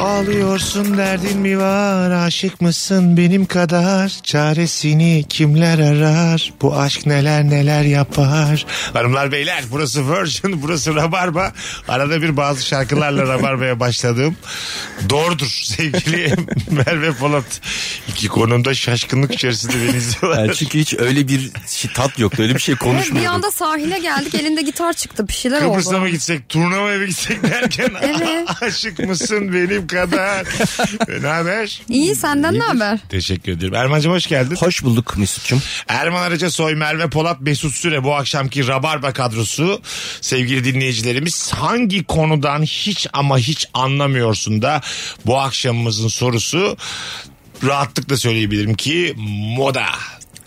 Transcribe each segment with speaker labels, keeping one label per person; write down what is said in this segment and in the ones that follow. Speaker 1: Ağlıyorsun derdin mi var aşık mısın benim kadar çaresini kimler arar bu aşk neler neler yapar Hanımlar beyler burası Virgin burası Rabarba arada bir bazı şarkılarla Rabarba'ya başladığım doğrudur sevgili Merve Polat iki konumda şaşkınlık içerisinde beni izliyorlar.
Speaker 2: Yani çünkü hiç öyle bir şey, tat yoktu. Öyle bir şey
Speaker 3: Bir
Speaker 2: konuşmuyorduk.
Speaker 3: anda sahile geldik elinde gitar çıktı bir şeyler
Speaker 1: Kıbrıs'a mı
Speaker 3: oldu.
Speaker 1: gitsek turnuvaya mı gitsek derken
Speaker 3: Evet.
Speaker 1: aşık mısın benim kadar ne haber?
Speaker 3: İyi senden ne haber?
Speaker 1: Teşekkür ederim. Erman'cığım hoş geldin.
Speaker 2: Hoş bulduk Mesut'cum.
Speaker 1: Erman Arıca Soy, Merve Polat, Mesut Süre bu akşamki Rabarba kadrosu. Sevgili dinleyicilerimiz hangi konudan hiç ama hiç anlamıyorsun da bu akşamımızın sorusu rahatlıkla söyleyebilirim ki moda.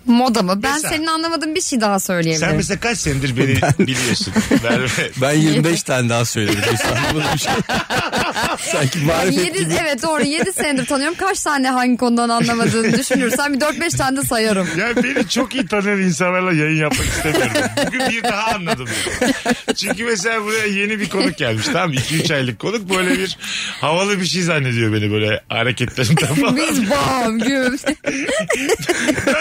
Speaker 3: Moda mı? Ben
Speaker 1: Mesela-
Speaker 3: senin anlamadığın bir şey daha
Speaker 1: Sen
Speaker 3: söyleyebilirim.
Speaker 1: mesela kaç senedir beni biliyorsun. Merve.
Speaker 2: Ben 25 tane daha söyledim. Mesut. Anlamadım bir şey. Sanki marifet
Speaker 3: Hani Yedi,
Speaker 2: gibi.
Speaker 3: evet doğru 7 senedir tanıyorum. Kaç tane hangi konudan anlamadığını düşünürsen bir 4-5 tane de sayarım.
Speaker 1: Ya beni çok iyi tanıyan insanlarla yayın yapmak istemiyorum. Bugün bir daha anladım. bunu. Çünkü mesela buraya yeni bir konuk gelmiş tamam 2-3 aylık konuk böyle bir havalı bir şey zannediyor beni böyle hareketlerinden falan.
Speaker 3: Biz bam güm.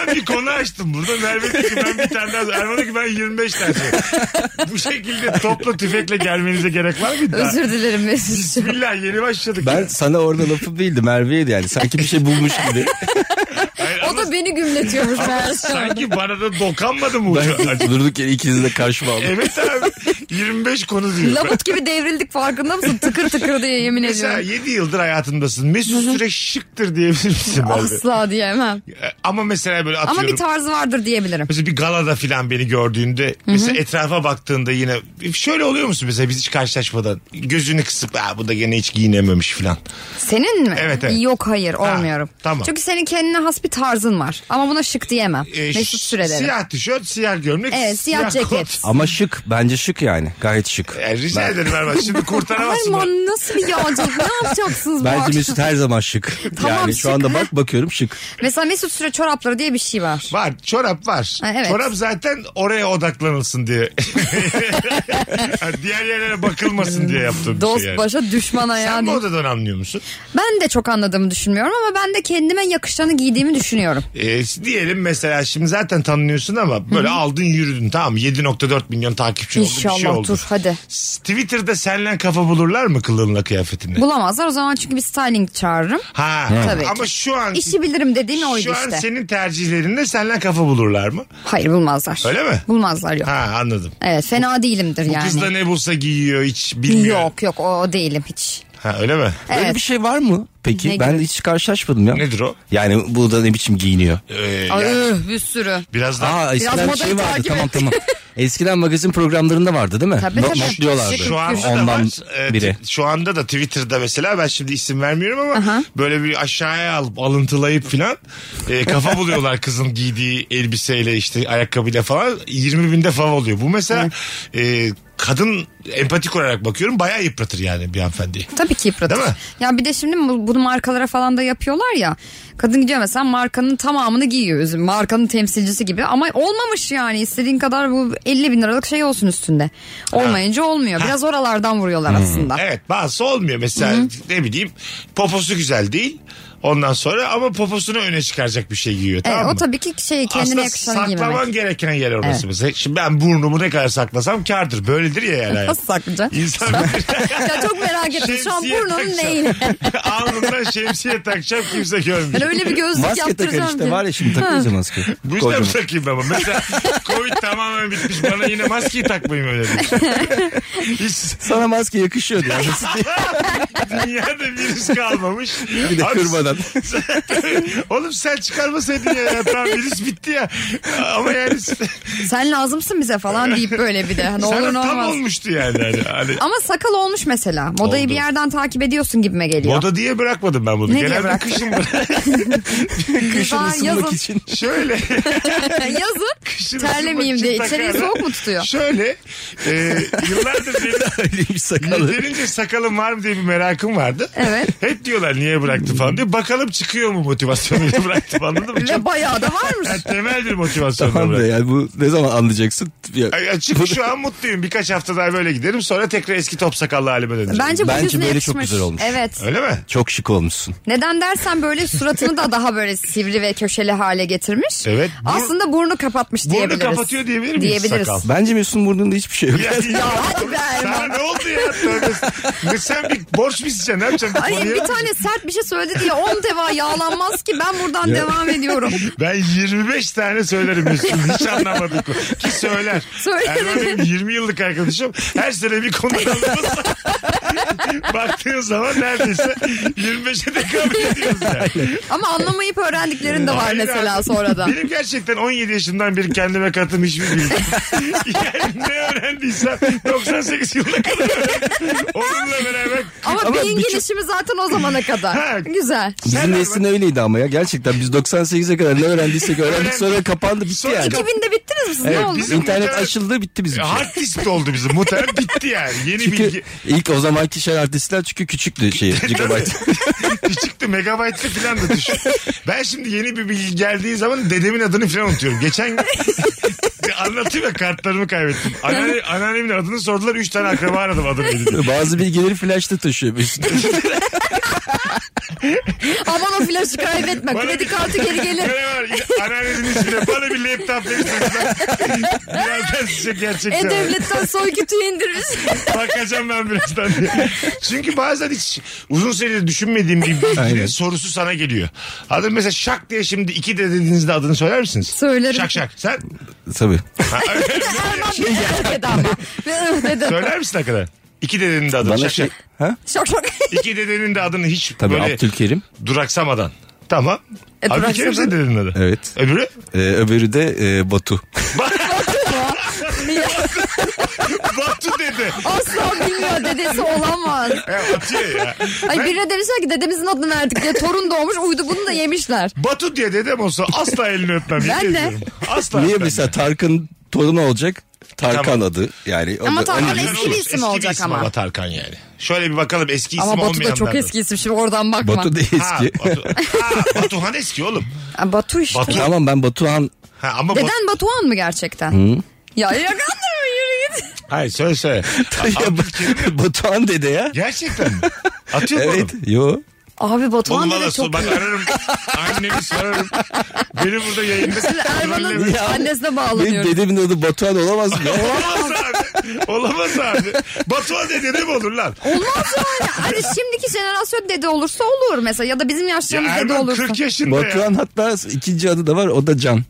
Speaker 1: ben bir konu açtım burada. Merve dedi ki ben bir tane daha. Erman dedi ki ben 25 tane. Bu şekilde topla tüfekle gelmenize gerek var mıydı? daha?
Speaker 3: Özür dilerim Mesut'cum.
Speaker 1: Bismillah yeni başladık.
Speaker 2: Ben sana orada lafım değildi Merve'ydi yani. Sanki bir şey bulmuş gibi.
Speaker 1: Hayır,
Speaker 3: O
Speaker 1: ama
Speaker 3: da beni gümletiyormuş meğerse.
Speaker 1: sanki bana da dokanmadı mı ucu?
Speaker 2: Ben durduk yere ikinizi de karşıma aldım.
Speaker 1: evet abi 25 konu diyor.
Speaker 3: Labut gibi devrildik farkında mısın? Tıkır tıkır diye yemin
Speaker 1: Mesela
Speaker 3: ediyorum.
Speaker 1: 7 yıldır hayatındasın. Mesut Süre şıktır diyebilir misin? Merve? E,
Speaker 3: Asla diyemem.
Speaker 1: Ama mesela böyle atıyorum.
Speaker 3: Ama bir tarzı vardır diyebilirim.
Speaker 1: Mesela bir galada filan beni gördüğünde mesela etrafa baktığında yine e, şöyle oluyor musun mesela biz hiç karşılaşmadan gözünü kısıp Aa, bu da gene hiç giyinememiş filan.
Speaker 3: Senin mi?
Speaker 1: Evet, evet.
Speaker 3: Yok hayır olmuyorum.
Speaker 1: tamam.
Speaker 3: Çünkü senin kendine has bir tarzın var. Ama buna şık diyemem.
Speaker 1: Ee,
Speaker 3: Mesut
Speaker 1: ş-
Speaker 3: Süre derim.
Speaker 1: Siyah tişört, siyah gömlek,
Speaker 3: Evet, siyah ceket.
Speaker 1: kot.
Speaker 2: Ama şık. Bence şık yani. Gayet şık.
Speaker 1: Yani rica
Speaker 2: Ben-
Speaker 1: ederim Erman şimdi kurtaramazsın.
Speaker 3: Aman
Speaker 1: onu.
Speaker 3: nasıl bir yağcılık ne yapacaksınız bu akşam?
Speaker 2: Bence Mesut her zaman şık.
Speaker 3: Tamam,
Speaker 2: yani
Speaker 3: şık.
Speaker 2: şu anda bak bakıyorum şık.
Speaker 3: Mesela Mesut Süre çorapları diye bir şey var.
Speaker 1: Var çorap var.
Speaker 3: Ha, evet.
Speaker 1: Çorap zaten oraya odaklanılsın diye. Yani Diğer yerlere bakılmasın diye yaptığım bir
Speaker 3: Dost
Speaker 1: şey yani.
Speaker 3: başa düşman ayağı
Speaker 1: Sen
Speaker 3: diye.
Speaker 1: modadan anlıyor musun?
Speaker 3: Ben de çok anladığımı düşünmüyorum ama ben de kendime yakışanı giydiğimi düşünüyorum.
Speaker 1: Ee, diyelim mesela şimdi zaten tanınıyorsun ama böyle aldın yürüdün tamam mı? 7.4 milyon takipçi oldu bir
Speaker 3: İnşallah
Speaker 1: şey oldu.
Speaker 3: dur hadi.
Speaker 1: S- Twitter'da seninle kafa bulurlar mı kılığınla kıyafetinle?
Speaker 3: Bulamazlar o zaman çünkü bir styling çağırırım.
Speaker 1: ha.
Speaker 3: Tabii ki.
Speaker 1: Ama şu an
Speaker 3: İşi bilirim dediğin
Speaker 1: şu
Speaker 3: oydu
Speaker 1: an
Speaker 3: işte.
Speaker 1: senin tercihlerinde seninle kafa bulurlar mı?
Speaker 3: Hayır bulmazlar.
Speaker 1: Öyle mi?
Speaker 3: Bulmazlar yok.
Speaker 1: Ha anladım.
Speaker 3: Evet fena değilimdir
Speaker 1: Bu
Speaker 3: yani.
Speaker 1: kız da ne bulsa giyiyor hiç bilmiyor.
Speaker 3: Yok yok o, o değilim hiç.
Speaker 1: Ha öyle mi?
Speaker 2: Öyle
Speaker 3: Evet.
Speaker 2: bir şey var mı? Peki
Speaker 3: Ne
Speaker 2: ben hiç karşılaşmadım ya.
Speaker 1: Nedir o?
Speaker 2: Yani bu da ne biçim giyiniyor?
Speaker 1: Ee,
Speaker 3: Ay,
Speaker 1: yani
Speaker 3: üh, bir sürü.
Speaker 1: biraz daha
Speaker 2: Aa eskiden bir
Speaker 3: modayı
Speaker 2: şey vardı
Speaker 3: takip
Speaker 2: tamam
Speaker 3: et.
Speaker 2: tamam. Eskiden magazin programlarında vardı değil mi?
Speaker 3: Tabii,
Speaker 2: Not-
Speaker 3: tabii.
Speaker 2: Notluyorlardı.
Speaker 1: şu anda da
Speaker 2: Ondan
Speaker 1: var. Ee, t-
Speaker 2: biri.
Speaker 1: Şu anda da Twitter'da mesela ben şimdi isim vermiyorum ama böyle bir aşağıya alıp alıntılayıp filan e, kafa buluyorlar kızın giydiği elbiseyle işte ayakkabıyla falan 20 binde fav oluyor. Bu mesela e, kadın empatik olarak bakıyorum bayağı yıpratır yani bir hanımefendiyi.
Speaker 3: Tabii ki yıpratır.
Speaker 1: Değil mi?
Speaker 3: Ya bir de şimdi bu- bunu markalara falan da yapıyorlar ya. Kadın gidiyor mesela markanın tamamını giyiyor. üzüm- Markanın temsilcisi gibi. Ama olmamış yani. istediğin kadar bu 50 bin liralık şey olsun üstünde. Olmayınca olmuyor. Biraz oralardan vuruyorlar aslında.
Speaker 1: Hmm. Evet bazısı olmuyor mesela ne bileyim poposu güzel değil ondan sonra ama poposunu öne çıkaracak bir şey giyiyor
Speaker 3: Evet,
Speaker 1: tamam mı?
Speaker 3: E, o tabii ki şey kendine
Speaker 1: Aslında
Speaker 3: yakışan
Speaker 1: saklaman
Speaker 3: giymemek.
Speaker 1: gereken yer orası
Speaker 3: Evet.
Speaker 1: mesela. Şimdi ben burnumu ne kadar saklasam kardır. Böyledir ya yani. hayat.
Speaker 3: Nasıl saklayacaksın?
Speaker 1: İnsan bir-
Speaker 3: ya çok merak ettim. Şu an
Speaker 1: Şemsiye
Speaker 3: burnunun
Speaker 1: takacağım.
Speaker 3: neyi?
Speaker 1: Alnımdan şemsiye takacağım kimse görmüyor.
Speaker 3: Ben öyle bir gözlük
Speaker 2: Maske takar
Speaker 3: yaptıracağım
Speaker 2: işte
Speaker 3: ki.
Speaker 2: var ya şimdi takıyoruz ya maske.
Speaker 1: Bu yüzden mi takayım ben ama? Mesela Covid tamamen bitmiş. Bana yine maskeyi takmayayım öyle demiş. Hiç
Speaker 2: Sana maske yakışıyor diyor.
Speaker 1: dünyada virüs kalmamış.
Speaker 2: Bir de
Speaker 1: Abi,
Speaker 2: kırmadan.
Speaker 3: çıkarmadı.
Speaker 1: Oğlum sen çıkarmasaydın ya. ya. Tamam virüs bitti ya. Ama yani
Speaker 3: Sen lazımsın bize falan deyip böyle bir de. Ne olur
Speaker 1: sana
Speaker 3: ne
Speaker 1: tam
Speaker 3: olmaz.
Speaker 1: olmuştu yani. Hani, hani-
Speaker 3: Ama sakal olmuş mesela. Modayı
Speaker 1: Oldu.
Speaker 3: bir yerden takip ediyorsun gibime geliyor.
Speaker 1: Moda diye bırakmadım ben bunu.
Speaker 3: Ne diye
Speaker 1: Genelde
Speaker 3: bıraktın?
Speaker 1: kışın bırak.
Speaker 2: Kışın
Speaker 3: Daha
Speaker 2: ısınmak
Speaker 3: yazın.
Speaker 2: için.
Speaker 1: Şöyle.
Speaker 3: Yazın
Speaker 1: kışın
Speaker 3: terlemeyeyim
Speaker 1: ısınmak
Speaker 3: diye.
Speaker 1: için
Speaker 3: İçeriği
Speaker 1: takarlar.
Speaker 3: soğuk mu tutuyor?
Speaker 1: Şöyle. E, yıllardır benim
Speaker 2: Öyleymiş sakalı.
Speaker 1: Yeterince sakalım var mı diye bir merakım vardı.
Speaker 3: Evet.
Speaker 1: Hep diyorlar niye bıraktı falan diye. Bakalım çıkıyor mu motivasyonuyla bıraktım anladın mı? Çok
Speaker 3: Ve bayağı da varmış.
Speaker 1: yani temel bir motivasyonla
Speaker 2: Tamam da
Speaker 1: bıraktım.
Speaker 2: yani bu ne zaman anlayacaksın? Ya,
Speaker 1: Ay, Açık şu an mutluyum. Birkaç hafta daha böyle giderim. Sonra tekrar eski top sakallı halime döneceğim.
Speaker 3: Bence bu
Speaker 2: Bence
Speaker 3: yüzüne
Speaker 2: böyle
Speaker 3: yakışmış.
Speaker 2: çok güzel olmuş.
Speaker 3: Evet.
Speaker 1: Öyle mi?
Speaker 2: Çok şık olmuşsun.
Speaker 3: Neden dersen böyle suratını da daha böyle sivri ve köşeli hale getirmiş.
Speaker 1: Evet. Bur-
Speaker 3: Aslında burnu kapatmış
Speaker 1: Burnu
Speaker 3: diyebiliriz.
Speaker 1: kapatıyor diyebilir miyiz
Speaker 3: Diyebiliriz.
Speaker 1: sakal?
Speaker 2: Bence Mesut'un burnunda hiçbir şey yok.
Speaker 1: Ya,
Speaker 3: Ya hadi be
Speaker 1: Sana
Speaker 3: Erman.
Speaker 1: ne oldu ya? Tövbe. Ne sen bir borç mu isteyeceksin? Ne yapacaksın?
Speaker 3: Ay
Speaker 1: Konuya-
Speaker 3: bir tane sert bir şey söyledi diye 10 deva yağlanmaz ki ben buradan devam ediyorum.
Speaker 1: Ben 25 tane söylerim Mesut'un. Hiç anlamadık. Ki söyler.
Speaker 3: Söylerim.
Speaker 1: Erman benim 20 yıllık arkadaşım. Her sene bir konu alınmaz. Baktığın zaman neredeyse 25'e de kabul ediyoruz yani.
Speaker 3: Ama anlamayıp öğrendiklerin de var
Speaker 1: Aynen.
Speaker 3: mesela sonradan.
Speaker 1: Benim gerçekten 17 yaşından beri kendime kattığım hiçbir bilgi. yani ne öğrendiysem 98 yılına kadar öğrendim. Onunla beraber
Speaker 3: Ama,
Speaker 2: Ama
Speaker 3: beyin
Speaker 2: birçok-
Speaker 3: gelişimi zaten o zamana
Speaker 1: Ha.
Speaker 3: kadar. Güzel.
Speaker 1: Sen
Speaker 2: Bizim neslin öyleydi ama ya gerçekten biz 98'e kadar ne öğrendiysek öğrendik sonra kapandı bitti
Speaker 1: Sonra
Speaker 2: yani.
Speaker 3: 2000'de bittiniz mi siz?
Speaker 2: Evet,
Speaker 3: ne oldu?
Speaker 1: bizim
Speaker 2: internet
Speaker 1: internet-
Speaker 2: açıldı bitti bizim şey. için.
Speaker 1: hard disk oldu bizim. Muhtemelen bitti yani. Yeni
Speaker 2: Çünkü
Speaker 1: bilgi.
Speaker 2: ilk o zamanki şey artistler çünkü küçüktü şey gigabyte.
Speaker 1: Küçüktü megabaytlı falan da düşün. Ben şimdi yeni bir bilgi geldiği zaman dedemin adını falan unutuyorum. Geçen gün anlatayım ya kartlarımı kaybettim. Anneanne, anneannemin adını sordular. Üç tane akraba aradım adını. dedi.
Speaker 2: Bazı bilgileri flash'ta taşıyor Mesut.
Speaker 3: Aman o flaşı kaybetme.
Speaker 1: Bana
Speaker 3: Kredi
Speaker 1: bir-
Speaker 3: kartı geri gelir.
Speaker 1: Böyle var. Anneannemin ismine bana bir laptop verirsen. Birazdan size
Speaker 3: E,
Speaker 1: gerçekten.
Speaker 3: E-Devlet'ten soy kütüğü indirmiş.
Speaker 1: Bakacağım ben birazdan diye. Çünkü bazen hiç uzun süredir düşünmediğim bir
Speaker 2: Aynen.
Speaker 1: bilginin sorusu sana geliyor. Adı mesela şak diye şimdi iki de dediğinizde adını söyler misiniz?
Speaker 3: Söylerim.
Speaker 1: Şak şak. Sen
Speaker 2: Tabii.
Speaker 3: Erman bir ıh dedi ama. Bir ıh dedi.
Speaker 1: söyler misin ne kadar? İki dedenin de adını
Speaker 2: Bana
Speaker 1: şak
Speaker 2: şey...
Speaker 1: şak.
Speaker 2: Ha?
Speaker 3: Şok şok.
Speaker 1: İki dedenin de adını hiç
Speaker 2: Tabii
Speaker 1: böyle
Speaker 2: Abdülkerim.
Speaker 1: duraksamadan. Tamam.
Speaker 3: E,
Speaker 1: Abdülkerim
Speaker 3: duraksamadan.
Speaker 1: sen dedenin adı.
Speaker 2: Evet.
Speaker 1: Öbürü?
Speaker 2: Ee, öbürü de e, Batu.
Speaker 1: Batu dede.
Speaker 3: Asla bilmiyor dedesi olamaz.
Speaker 1: Ya, atıyor ya.
Speaker 3: Ay
Speaker 1: Ben-
Speaker 3: birine demişler ki dedemizin adını verdik diye torun doğmuş uydu bunu da yemişler.
Speaker 1: Batu diye dedem olsa asla elini öpmem.
Speaker 3: Ben
Speaker 1: yemin
Speaker 3: de.
Speaker 1: ediyorum. Asla
Speaker 2: Niye
Speaker 1: öpmem.
Speaker 2: mesela Tarkan torunu olacak? Tarkan
Speaker 1: Tamam.
Speaker 2: adı yani. O
Speaker 3: Ama
Speaker 2: da-
Speaker 3: Tarkan
Speaker 1: hani
Speaker 2: onun
Speaker 3: eski
Speaker 2: gibi bir
Speaker 3: bir
Speaker 2: şey.
Speaker 3: isim olacak ama.
Speaker 1: Tarkan yani. Şöyle bir bakalım eski isim
Speaker 3: Ama Batu da
Speaker 1: olmayanlardan.
Speaker 3: çok eski isim şimdi oradan bakma.
Speaker 2: Batu da
Speaker 1: Ha,
Speaker 2: eski.
Speaker 1: Batu, ha, Batuhan eski oğlum.
Speaker 3: Ha, Batu işte.
Speaker 1: Batu.
Speaker 2: Tamam ben Batuhan
Speaker 1: Ha, ama Bat-
Speaker 3: Deden Batuhan mı gerçekten? Ya yakandırma yürü git.
Speaker 1: Hayır söyle söyle.
Speaker 2: Batuhan dede ya.
Speaker 1: Gerçekten mi? Atıyor mu
Speaker 2: Evet.
Speaker 1: oğlum?
Speaker 2: Yo.
Speaker 3: Abi Batuhan
Speaker 1: Oğlum
Speaker 3: dede
Speaker 1: valla
Speaker 3: çok
Speaker 1: sor, bak ararım. Annemi sorarım. Beni burada yayında.
Speaker 3: Şimdi Erman'ın
Speaker 1: şey.
Speaker 2: Ya.
Speaker 3: annesine
Speaker 2: Benim
Speaker 3: bağlanıyorum.
Speaker 2: dedemin adı Batuhan olamaz mı? ya?
Speaker 1: Olamaz abi. Olamaz abi. Batuhan dede ne mi olur lan?
Speaker 3: Olmaz yani. Hani şimdiki jenerasyon dede olursa olur mesela. Ya da bizim
Speaker 1: Ya
Speaker 3: yaşlarımız dede
Speaker 1: Erman
Speaker 3: olursa.
Speaker 1: 40 yaşında ya.
Speaker 2: Batuhan hatta ikinci adı da var o da Can.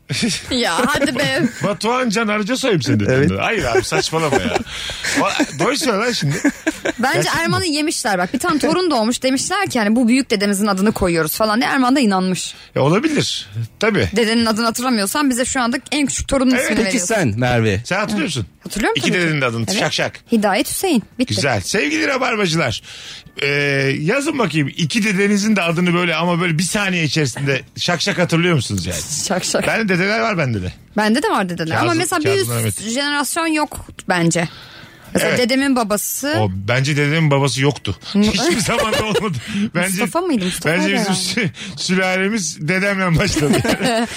Speaker 3: Ya hadi be.
Speaker 1: Batuhan Can Arıca soyum seni dedim.
Speaker 2: Evet.
Speaker 1: ben. Hayır abi saçmalama ya. O- Doğru söyle lan şimdi.
Speaker 3: Bence Erman'ı yemişler bak. Bir tane torun doğmuş demişler ki hani bu büyük dedemizin adını koyuyoruz falan diye Erman da inanmış.
Speaker 1: Ya E, olabilir. Tabii.
Speaker 3: Dedenin adını hatırlamıyorsan bize şu anda en küçük torunun
Speaker 1: Evet.
Speaker 3: ismini
Speaker 2: Peki
Speaker 3: veriyorsun.
Speaker 2: sen Merve.
Speaker 1: Sen hatırlıyor musun?
Speaker 3: Hatırlıyor musun?
Speaker 1: İki dedenin de adını. Şak şak.
Speaker 3: Hidayet Hüseyin. Bitti.
Speaker 1: Güzel. Sevgili Rabarbacılar. Ee, yazın bakayım. iki dedenizin de adını böyle ama böyle bir saniye içerisinde şak şak hatırlıyor musunuz yani?
Speaker 3: Şak şak.
Speaker 1: Ben de dedeler var bende de.
Speaker 3: Bende de var dedeler.
Speaker 1: Kazım-
Speaker 3: Ama mesela bir
Speaker 1: Kazım Mehmet.
Speaker 3: üst jenerasyon yok bence. Mesela
Speaker 1: Evet.
Speaker 3: dedemin babası.
Speaker 1: O, bence dedemin babası yoktu. Hiçbir zaman da olmadı. Bence,
Speaker 3: Mustafa mıydı? Mustafa
Speaker 1: bence
Speaker 3: herhalde.
Speaker 1: bizim sü- sülalemiz dedemle başladı. Yani.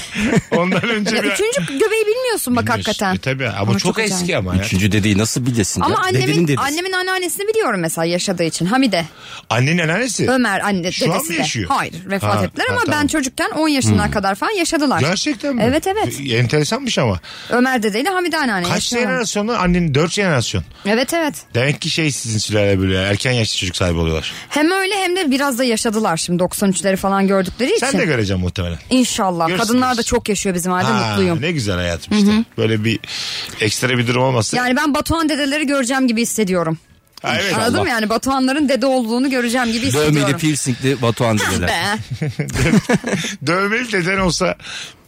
Speaker 1: Ondan önce
Speaker 3: Ya
Speaker 1: bir...
Speaker 3: üçüncü göbeği bilmiyorsun bak hakikaten.
Speaker 1: E, tabii ama,
Speaker 3: Ama
Speaker 1: çok,
Speaker 3: çok güzel.
Speaker 1: eski ama ya.
Speaker 2: Üçüncü dedeyi nasıl bilesin?
Speaker 3: Ama
Speaker 2: ya? Dedenin
Speaker 3: annemin,
Speaker 2: dedesi.
Speaker 3: annemin anneannesini biliyorum mesela yaşadığı için. Hamide.
Speaker 1: Annenin anneannesi.
Speaker 3: Ömer anne
Speaker 1: Şu an
Speaker 3: dedesi
Speaker 1: mı
Speaker 3: de.
Speaker 1: yaşıyor?
Speaker 3: Hayır vefat
Speaker 1: Ha,
Speaker 3: ettiler
Speaker 1: ha,
Speaker 3: ama
Speaker 1: tamam. Hmm.
Speaker 3: ben çocukken 10 yaşına kadar falan yaşadılar.
Speaker 1: Gerçekten mi?
Speaker 3: Evet evet.
Speaker 1: E, Enteresanmış ama.
Speaker 3: Ömer dedeyle Hamide anneanne
Speaker 1: Kaç
Speaker 3: yaşıyorlar.
Speaker 1: jenerasyonu? Annenin dört jenerasyon.
Speaker 3: Evet evet.
Speaker 1: Demek ki şey sizin sülale böyle ya, erken yaşlı çocuk sahibi oluyorlar.
Speaker 3: Hem öyle hem de biraz da yaşadılar şimdi 93'leri falan gördükleri için.
Speaker 1: Sen de göreceksin muhtemelen.
Speaker 3: İnşallah.
Speaker 1: Görürsünüz.
Speaker 3: Kadınlar da çok yaşıyor bizim halde
Speaker 1: Ha,
Speaker 3: mutluyum.
Speaker 1: Ne güzel hayatım işte. Böyle bir ekstra bir durum olmasa.
Speaker 3: Yani ben Batuhan dedeleri göreceğim gibi hissediyorum.
Speaker 1: Ha, evet.
Speaker 2: İnşallah.
Speaker 3: Anladın mı yani Batuhanların dede olduğunu göreceğim gibi
Speaker 2: Dövmeli,
Speaker 3: hissediyorum.
Speaker 2: piercingli Batuhan dediler.
Speaker 3: Be.
Speaker 1: Dövmeli deden olsa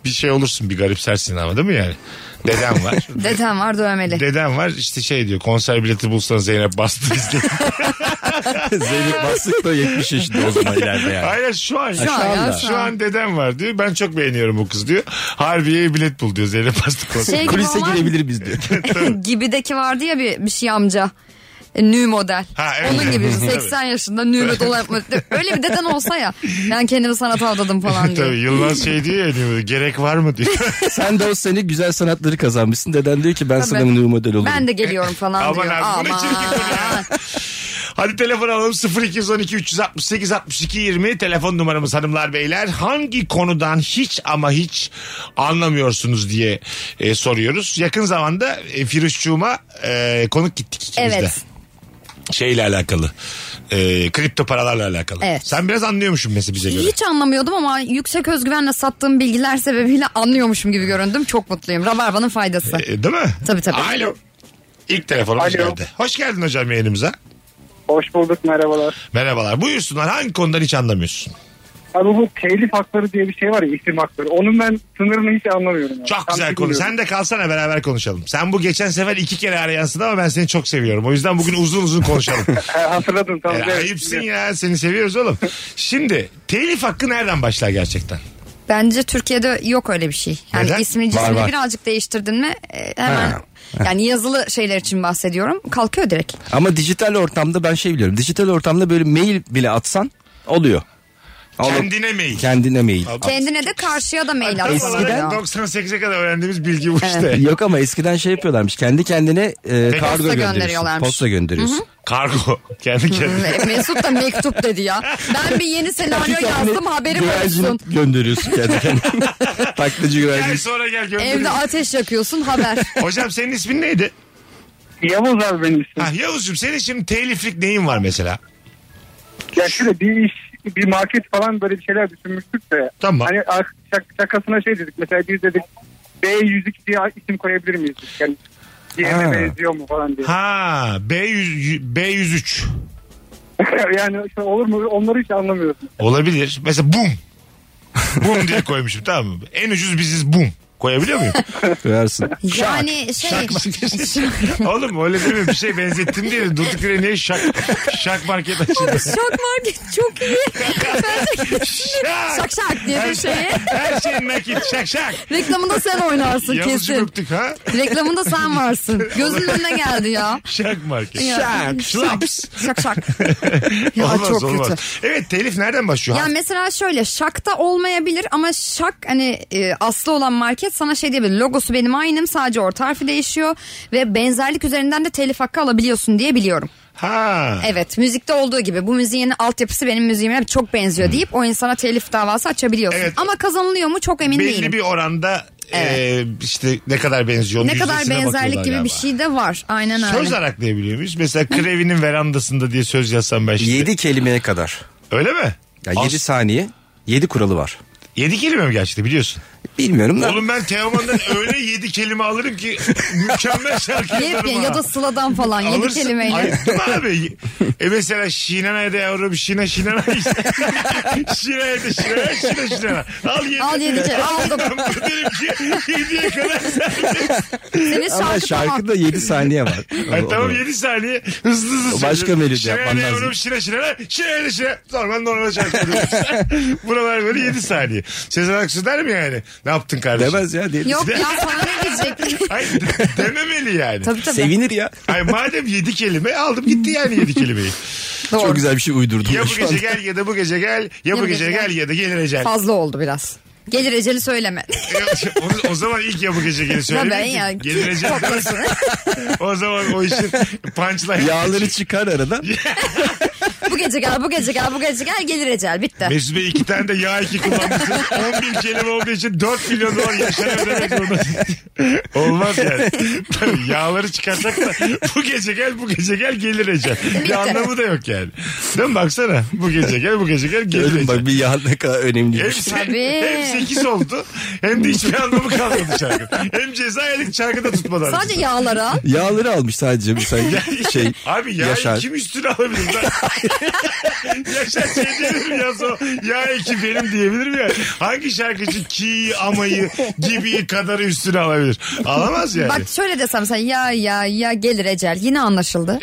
Speaker 1: bir şey olursun bir garipsersin ama değil mi yani? Dedem var.
Speaker 3: Dedem var dövmeli.
Speaker 1: Dedem var işte şey diyor konser bileti bulsan Zeynep bastı bizde.
Speaker 2: Zeynep Bastık da 70 yaşında o zaman ileride yani.
Speaker 1: Hayır şu an.
Speaker 3: Şu an ya, şu
Speaker 1: Şu
Speaker 3: an.
Speaker 1: an dedem var diyor. Ben çok beğeniyorum bu kız diyor. Harbiye'ye bilet bul diyor Zeynep Bastık konser.
Speaker 3: Şey-
Speaker 2: Kulise
Speaker 3: Ama-
Speaker 2: girebilir biz diyor.
Speaker 3: Gibideki vardı ya bir, bir şey amca. E, Nü model.
Speaker 1: Ha, evet.
Speaker 3: Onun gibi
Speaker 1: Tabii.
Speaker 3: 80 yaşında nü model olan- Öyle bir deden olsa ya. Ben kendimi sanata adadım falan
Speaker 1: Tabii
Speaker 3: diye.
Speaker 1: Yılmaz şey diyor ya diyor, gerek var mı diyor.
Speaker 2: Sen de o sene güzel sanatları kazanmışsın. Deden diyor ki ben
Speaker 3: Tabii.
Speaker 2: sana new model olurum.
Speaker 3: Ben de geliyorum falan
Speaker 1: Aman
Speaker 3: diyor.
Speaker 1: abi, bu ne çirkin bu
Speaker 3: Aman.
Speaker 1: Hadi telefon alalım 0212 368 62 20 telefon numaramız hanımlar beyler. Hangi konudan hiç ama hiç anlamıyorsunuz diye e, soruyoruz. Yakın zamanda e, Firuşçuğuma e, konuk gittik ikimiz de.
Speaker 3: Evet.
Speaker 1: Şeyle alakalı. E, kripto paralarla alakalı.
Speaker 3: Evet.
Speaker 1: Sen biraz anlıyormuşsun mesela bize göre.
Speaker 3: Hiç anlamıyordum ama yüksek özgüvenle sattığım bilgiler sebebiyle anlıyormuşum gibi göründüm. Çok mutluyum. Rabarba'nın faydası.
Speaker 1: E, değil mi?
Speaker 3: Tabii, tabii.
Speaker 1: Alo. İlk telefonumuz
Speaker 4: Alo.
Speaker 1: geldi. Hoş geldin hocam yayınımıza.
Speaker 4: Hoş bulduk merhabalar.
Speaker 1: Merhabalar. Buyursunlar hangi konudan hiç anlamıyorsun?
Speaker 4: Abi bu telif hakları diye bir şey var ya isim hakları. Onun ben sınırını hiç anlamıyorum. abi.
Speaker 1: Çok
Speaker 4: Tam
Speaker 1: güzel konu.
Speaker 4: bilmiyorum.
Speaker 1: Sen de kalsana beraber konuşalım. Sen bu geçen sefer iki kere arayansın ama ben seni çok seviyorum. O yüzden bugün uzun uzun konuşalım.
Speaker 4: He, hatırladın tamam.
Speaker 1: E,
Speaker 4: evet.
Speaker 1: ayıpsın ya seni seviyoruz oğlum. Şimdi telif hakkı nereden başlar gerçekten?
Speaker 3: Bence Türkiye'de yok öyle bir şey. Yani
Speaker 1: Neden?
Speaker 3: ismini
Speaker 2: Var,
Speaker 3: cismini
Speaker 2: var.
Speaker 3: birazcık değiştirdin mi e, hemen
Speaker 2: Ha.
Speaker 3: yani yazılı şeyler için bahsediyorum. Kalkıyor direkt.
Speaker 2: Ama dijital ortamda ben şey biliyorum. Dijital ortamda böyle mail bile atsan oluyor. Alıp
Speaker 1: Kendine mail.
Speaker 2: kendine mail.
Speaker 3: Kendine de karşıya da mail
Speaker 1: Tam
Speaker 3: atıyor.
Speaker 1: olarak
Speaker 2: Eskiden-
Speaker 1: 98'e kadar öğrendiğimiz bilgi bu işte.
Speaker 2: Yok ama eskiden şey yapıyorlarmış. Kendi kendine e, kargo gönderiyorsun.
Speaker 3: gönderiyorlarmış.
Speaker 2: Posta gönderiyorsun.
Speaker 1: Kargo. Kendi kendine.
Speaker 3: Mesut da mektup dedi ya. Ben bir yeni senaryo yazdım haberim
Speaker 2: Güvercin
Speaker 3: olsun.
Speaker 2: gönderiyorsun kendi kendine. Taklacı
Speaker 1: Gel
Speaker 2: güvercin.
Speaker 1: sonra gel
Speaker 3: Evde
Speaker 1: gönder.
Speaker 3: ateş yakıyorsun haber.
Speaker 1: Hocam senin ismin neydi?
Speaker 4: Yavuz abi benim ismim.
Speaker 1: Ha, Yavuz'cum senin şimdi teliflik neyin var mesela?
Speaker 4: Ya şöyle bir iş bir market falan böyle bir şeyler düşünmüştük de.
Speaker 1: Tamam.
Speaker 4: Hani ar- şak- şakasına şey dedik mesela biz dedik B102 diye isim koyabilir miyiz? dedik. Yani diğerine
Speaker 2: Ha.
Speaker 4: benziyor mu falan diye.
Speaker 1: Ha B100, B103.
Speaker 4: yani işte olur mu onları hiç anlamıyorsun.
Speaker 1: Olabilir. Mesela bum. bum diye koymuşum tamam mı? En ucuz biziz bum. Koyabiliyor muyum?
Speaker 2: Koyarsın.
Speaker 3: Yani şey
Speaker 1: Oğlum öyle deme bir şey benzettim diye de durduk yere niye şak, şak market açıldı?
Speaker 3: şok market çok iyi.
Speaker 1: şak.
Speaker 3: Şak şak diye bir şeye.
Speaker 1: Her şey nakit şak şak.
Speaker 3: Reklamında sen oynarsın
Speaker 1: Yavuzcu
Speaker 3: kesin.
Speaker 1: öptük ha.
Speaker 3: Reklamında sen varsın. Gözümün önüne geldi ya.
Speaker 1: Şak market.
Speaker 3: Ya.
Speaker 1: Şak. Şlaps.
Speaker 3: Şak şak. Ya
Speaker 1: olmaz
Speaker 3: çok
Speaker 1: olmaz.
Speaker 3: kötü.
Speaker 1: Evet telif nereden başlıyor?
Speaker 3: Ya mesela şöyle şakta olmayabilir ama şak hani e, aslı olan market sana şey diyebilir. Logosu benim aynım sadece orta harfi değişiyor ve benzerlik üzerinden de telif hakkı alabiliyorsun diye biliyorum.
Speaker 1: Ha.
Speaker 3: Evet müzikte olduğu gibi bu müziğin altyapısı benim müziğime çok benziyor deyip o insana telif davası açabiliyorsun.
Speaker 1: Hmm. Evet.
Speaker 3: Ama kazanılıyor mu çok emin
Speaker 1: Belli
Speaker 3: değilim.
Speaker 1: bir oranda e, işte ne kadar benziyor
Speaker 3: Ne kadar
Speaker 1: yüzdesine
Speaker 3: benzerlik
Speaker 1: bakıyorlar
Speaker 3: gibi bir
Speaker 1: galiba.
Speaker 3: şey de var. Aynen öyle.
Speaker 1: Söz araklayabiliyor muyuz? Mesela Krevi'nin verandasında diye söz yazsam ben şimdi.
Speaker 2: 7 kelimeye kadar.
Speaker 1: Öyle mi?
Speaker 2: Ya 7
Speaker 1: As-
Speaker 2: saniye. 7 kuralı var.
Speaker 1: yedi kelime mi gerçekten biliyorsun?
Speaker 2: Bilmiyorum da.
Speaker 1: Oğlum ben Teoman'dan öyle yedi kelime alırım ki mükemmel şarkı yazarım
Speaker 3: Yepyeni
Speaker 1: ha.
Speaker 3: ya da sıladan falan yedi
Speaker 1: Alırsın.
Speaker 3: kelimeyle.
Speaker 1: Ay, değil mi abi? E mesela Şinanay'da yavrum Şina Şinanay. Şinanay'da Şinanay Şina Şinanay. Al yedi.
Speaker 3: Al yedi kelime. Aldım.
Speaker 1: Derim ki yediye kadar
Speaker 3: Senin
Speaker 2: Ama
Speaker 3: şarkı tamam.
Speaker 2: şarkıda 7 saniye var.
Speaker 1: Ay,
Speaker 2: O-
Speaker 1: tamam
Speaker 2: o-
Speaker 1: 7 saniye hızlı hızlı
Speaker 2: O başka melodi
Speaker 1: yapman
Speaker 2: yapman lazım.
Speaker 1: lazım. Şire şire şire şire normal normal şarkı diyoruz. Buralar böyle 7 saniye. Sezen Aksu der mi yani? Ne yaptın kardeşim?
Speaker 2: Demez ya. diye-
Speaker 3: Yok ya sana ne diyecek?
Speaker 1: Ay, de- dememeli yani.
Speaker 3: tabii tabii.
Speaker 2: Sevinir ya.
Speaker 1: Ay madem 7 kelime aldım gitti yani 7 kelimeyi.
Speaker 3: Doğru.
Speaker 2: Çok güzel bir şey uydurdum.
Speaker 1: Ya
Speaker 2: ben
Speaker 1: bu
Speaker 2: şu
Speaker 1: gece
Speaker 2: an.
Speaker 1: gel ya da bu gece gel ya bu gece gel ya da gelir ecel.
Speaker 3: Fazla oldu biraz. Gelir eceli söyleme.
Speaker 1: o, o zaman ilk ya bu gece gel
Speaker 3: Ya
Speaker 1: söylemeyin.
Speaker 3: ben ya.
Speaker 1: Gelir ecel.
Speaker 3: Toplasın.
Speaker 1: O zaman o işin punchline.
Speaker 2: Yağları çıkar arada.
Speaker 3: bu gece gel, bu gece gel, bu gece gel gelir ecel. Bitti.
Speaker 1: Mesut Bey iki tane de yağ iki kullanmışsın. 11 kelime olduğu için 4 milyon dolar yaşar ödemek zorunda. Olmaz yani. Tabii yağları çıkarsak da bu gece gel bu gece gel gelir Ece. Bir
Speaker 3: Bitti.
Speaker 1: anlamı da yok yani. Değil mi baksana? Bu gece gel bu gece gel gelir
Speaker 2: Gördün
Speaker 1: Ece.
Speaker 2: bak bir yağ ne kadar önemli. şey.
Speaker 1: Hepsi,
Speaker 3: Tabii.
Speaker 1: hem 8 oldu hem de hiçbir anlamı kalmadı şarkı. Hem ceza yedik şarkı da tutmadı. artık.
Speaker 3: Sadece yağlara.
Speaker 2: Yağları almış sadece bir sanki şey.
Speaker 1: Abi ya
Speaker 2: Yaşar.
Speaker 1: kim üstüne alabilir lan? Yaşar şey diyebilir mi ya so, ya iki benim diyebilir mi ya? Hangi şarkıcı ki amayı gibi kadarı üstüne alabilir? Alamaz yani.
Speaker 3: Bak şöyle desem sen ya ya ya gelir ecel. Yine anlaşıldı.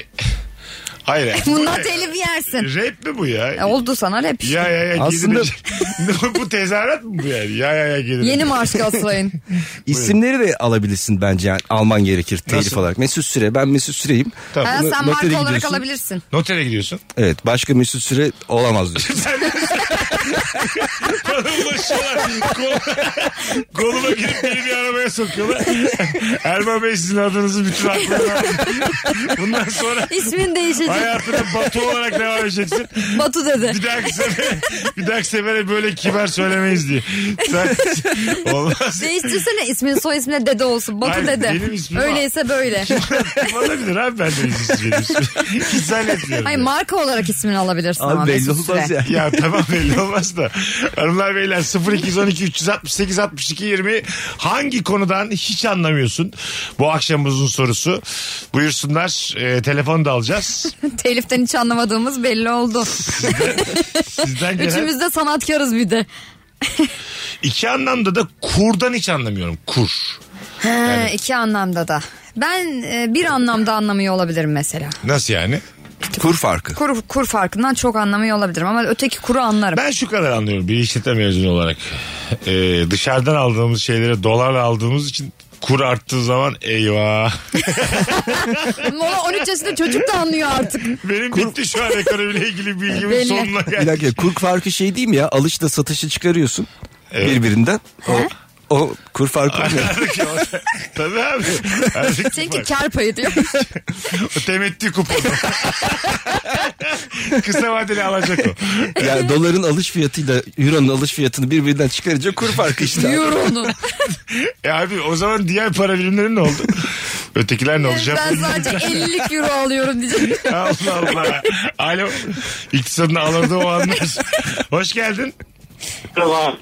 Speaker 1: Hayır.
Speaker 3: Bundan telif yersin.
Speaker 1: Rap mi bu ya?
Speaker 3: E, oldu sana rap. işte.
Speaker 1: ya ya ya
Speaker 2: Aslında-
Speaker 1: gelir. bu tezahürat mı bu yani? Ya ya ya gelir.
Speaker 3: Yeni marş Galatasaray'ın.
Speaker 2: İsimleri de alabilirsin bence yani alman gerekir telif
Speaker 1: Nasıl?
Speaker 2: olarak. Mesut Süre ben Mesut Süre'yim.
Speaker 1: Tamam.
Speaker 3: Ha,
Speaker 2: Bunu
Speaker 3: sen
Speaker 2: notere
Speaker 3: marka olarak
Speaker 2: gidiyorsun.
Speaker 3: alabilirsin.
Speaker 1: Notere gidiyorsun.
Speaker 2: Evet başka Mesut Süre olamaz diyor.
Speaker 1: Bana ulaşıyorlar. Kol, koluma girip beni bir arabaya sokuyorlar. Erman Bey sizin adınızı bütün aklımda. Bundan sonra
Speaker 3: İsmin değişecek.
Speaker 1: Hayatına Batu olarak devam edeceksin.
Speaker 3: Batu dedi.
Speaker 1: Bir dahaki sefere, bir dahaki sefere böyle kibar söylemeyiz diye. Sen, olmaz.
Speaker 3: Değiştirsene ismin soy ismine dede olsun. Batu
Speaker 1: Hayır, benim
Speaker 3: dede.
Speaker 1: ismim-
Speaker 3: Öyleyse böyle.
Speaker 1: Olabilir abi ben de izin veriyorsun. Hiç zannetmiyorum.
Speaker 3: Hayır marka olarak ismini alabilirsin ama.
Speaker 2: Abi belli
Speaker 3: Mesut
Speaker 2: olmaz
Speaker 3: Süre.
Speaker 2: ya.
Speaker 1: ya tamam belli olmaz da. Hanımlar beyler 0212 368 62 20 hangi konudan hiç anlamıyorsun? Bu akşamımızın sorusu. Buyursunlar. E, telefon da alacağız.
Speaker 3: Teliften hiç anlamadığımız belli oldu.
Speaker 1: Sizden gelen
Speaker 3: Üçümüz de sanatkarız bir de.
Speaker 1: iki anlamda da kurdan hiç anlamıyorum. Kur.
Speaker 3: He, Ee, iki anlamda da. Ben e, bir anlamda anlamıyor olabilirim mesela.
Speaker 1: Nasıl yani?
Speaker 2: Kur farkı.
Speaker 3: Kur, kur farkından çok anlamıyor olabilirim ama öteki kuru anlarım.
Speaker 1: Ben şu kadar anlıyorum bir işletme mezunu olarak. Ee, dışarıdan aldığımız şeylere dolarla aldığımız için kur arttığı zaman eyvah.
Speaker 3: Ama 13 yaşında çocuk da anlıyor artık.
Speaker 1: Benim bitti şu an ekonomiyle ilgili bilgimin
Speaker 3: Belli.
Speaker 1: sonuna
Speaker 2: Bir
Speaker 1: geldi.
Speaker 2: dakika kur farkı şey değil mi ya alışla satışı çıkarıyorsun
Speaker 1: Evet.
Speaker 2: birbirinden. O, o kur farkı oluyor.
Speaker 1: Tabii abi. Artık
Speaker 3: Seninki
Speaker 1: bak,
Speaker 3: kar payı diyor.
Speaker 1: o temettü kuponu. Kısa vadeli alacak o.
Speaker 2: yani doların alış fiyatıyla euronun alış fiyatını birbirinden çıkarınca kur farkı işte.
Speaker 3: Euro'nun.
Speaker 1: E abi o zaman diğer para birimleri ne oldu? Ötekiler ne olacak?
Speaker 3: ben sadece 50'lik euro alıyorum diyecek.
Speaker 1: Allah Allah. Alo. İktisadın alırdı o anlar. Hoş geldin.
Speaker 5: Merhaba.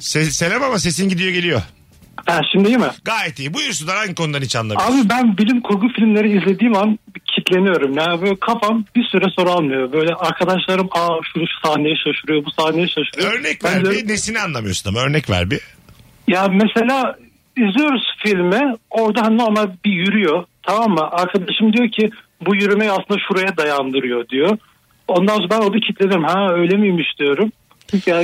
Speaker 1: Se- selam ama sesin gidiyor geliyor.
Speaker 5: Ha, şimdi iyi mi?
Speaker 1: Gayet iyi. Buyursunlar hangi konudan hiç anlamıyorum.
Speaker 5: Abi ben bilim kurgu filmleri izlediğim an kitleniyorum. Yani böyle kafam bir süre soru almıyor. Böyle arkadaşlarım aa şu, şu sahneye şaşırıyor, bu sahneye şaşırıyor.
Speaker 1: Örnek
Speaker 5: Ben
Speaker 1: ver
Speaker 5: de-
Speaker 1: bir. Nesini anlamıyorsun ama örnek ver bir.
Speaker 5: Ya mesela izliyoruz filmi orada hani normal bir yürüyor tamam mı? Arkadaşım diyor ki bu yürümeyi aslında şuraya dayandırıyor diyor. Ondan sonra ben orada kilitledim. Ha öyle miymiş diyorum. Ya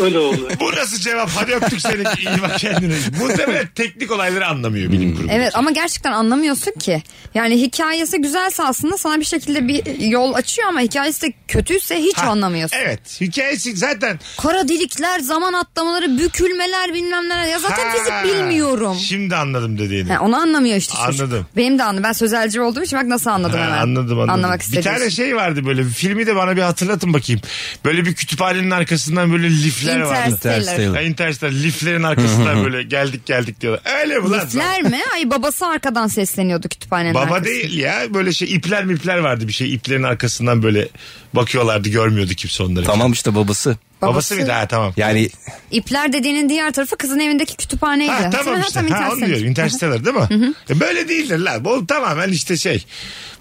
Speaker 5: öyle oldu.
Speaker 1: Burası cevap. Hadi öptük seni. İyi bak kendine. Muhtemelen teknik olayları anlamıyor bilim kurgu.
Speaker 3: Evet ama gerçekten anlamıyorsun ki. Yani hikayesi güzelse aslında sana bir şekilde bir yol açıyor ama hikayesi de kötüyse hiç
Speaker 1: Ha, e-
Speaker 3: anlamıyorsun.
Speaker 1: Evet. Hikayesi zaten.
Speaker 3: Kara delikler, zaman atlamaları, bükülmeler bilmem neler. Ya zaten
Speaker 1: Ha,
Speaker 3: fizik bilmiyorum.
Speaker 1: Şimdi anladım dediğini.
Speaker 3: Ha, onu anlamıyor işte. çocuk.
Speaker 1: Anladım.
Speaker 3: Benim de anladım. Ben sözelci olduğum için bak nasıl anladım
Speaker 1: Ha,
Speaker 3: hemen.
Speaker 1: anladım anladım.
Speaker 3: Anlamak
Speaker 1: bir
Speaker 3: istedim.
Speaker 1: tane şey vardı böyle filmi de bana bir hatırlatın bakayım. Böyle bir kütüphanenin arkasından böyle lifler vardı.
Speaker 3: Interstellar.
Speaker 1: Ha, Interstellar liflerin arkasından böyle geldik geldik diyorlar. Öyle mi lan?
Speaker 3: Lifler mi? Ay babası arkadan sesleniyordu kütüphanenin
Speaker 1: Baba
Speaker 3: arkasında.
Speaker 1: değil ya böyle şey ipler mipler vardı bir şey iplerin arkasından böyle bakıyorlardı görmüyordu kimse onları.
Speaker 2: Tamam işte babası.
Speaker 1: Babası, mıydı ha tamam.
Speaker 2: Yani
Speaker 3: İpler dediğinin diğer tarafı kızın evindeki kütüphaneydi.
Speaker 1: Ha,
Speaker 3: Sonra
Speaker 1: tamam işte.
Speaker 3: tam
Speaker 1: Ha, onu
Speaker 3: Interstellar.
Speaker 1: diyorum. Interstellar değil mi? E, böyle değildir lan. Bu tamamen işte şey.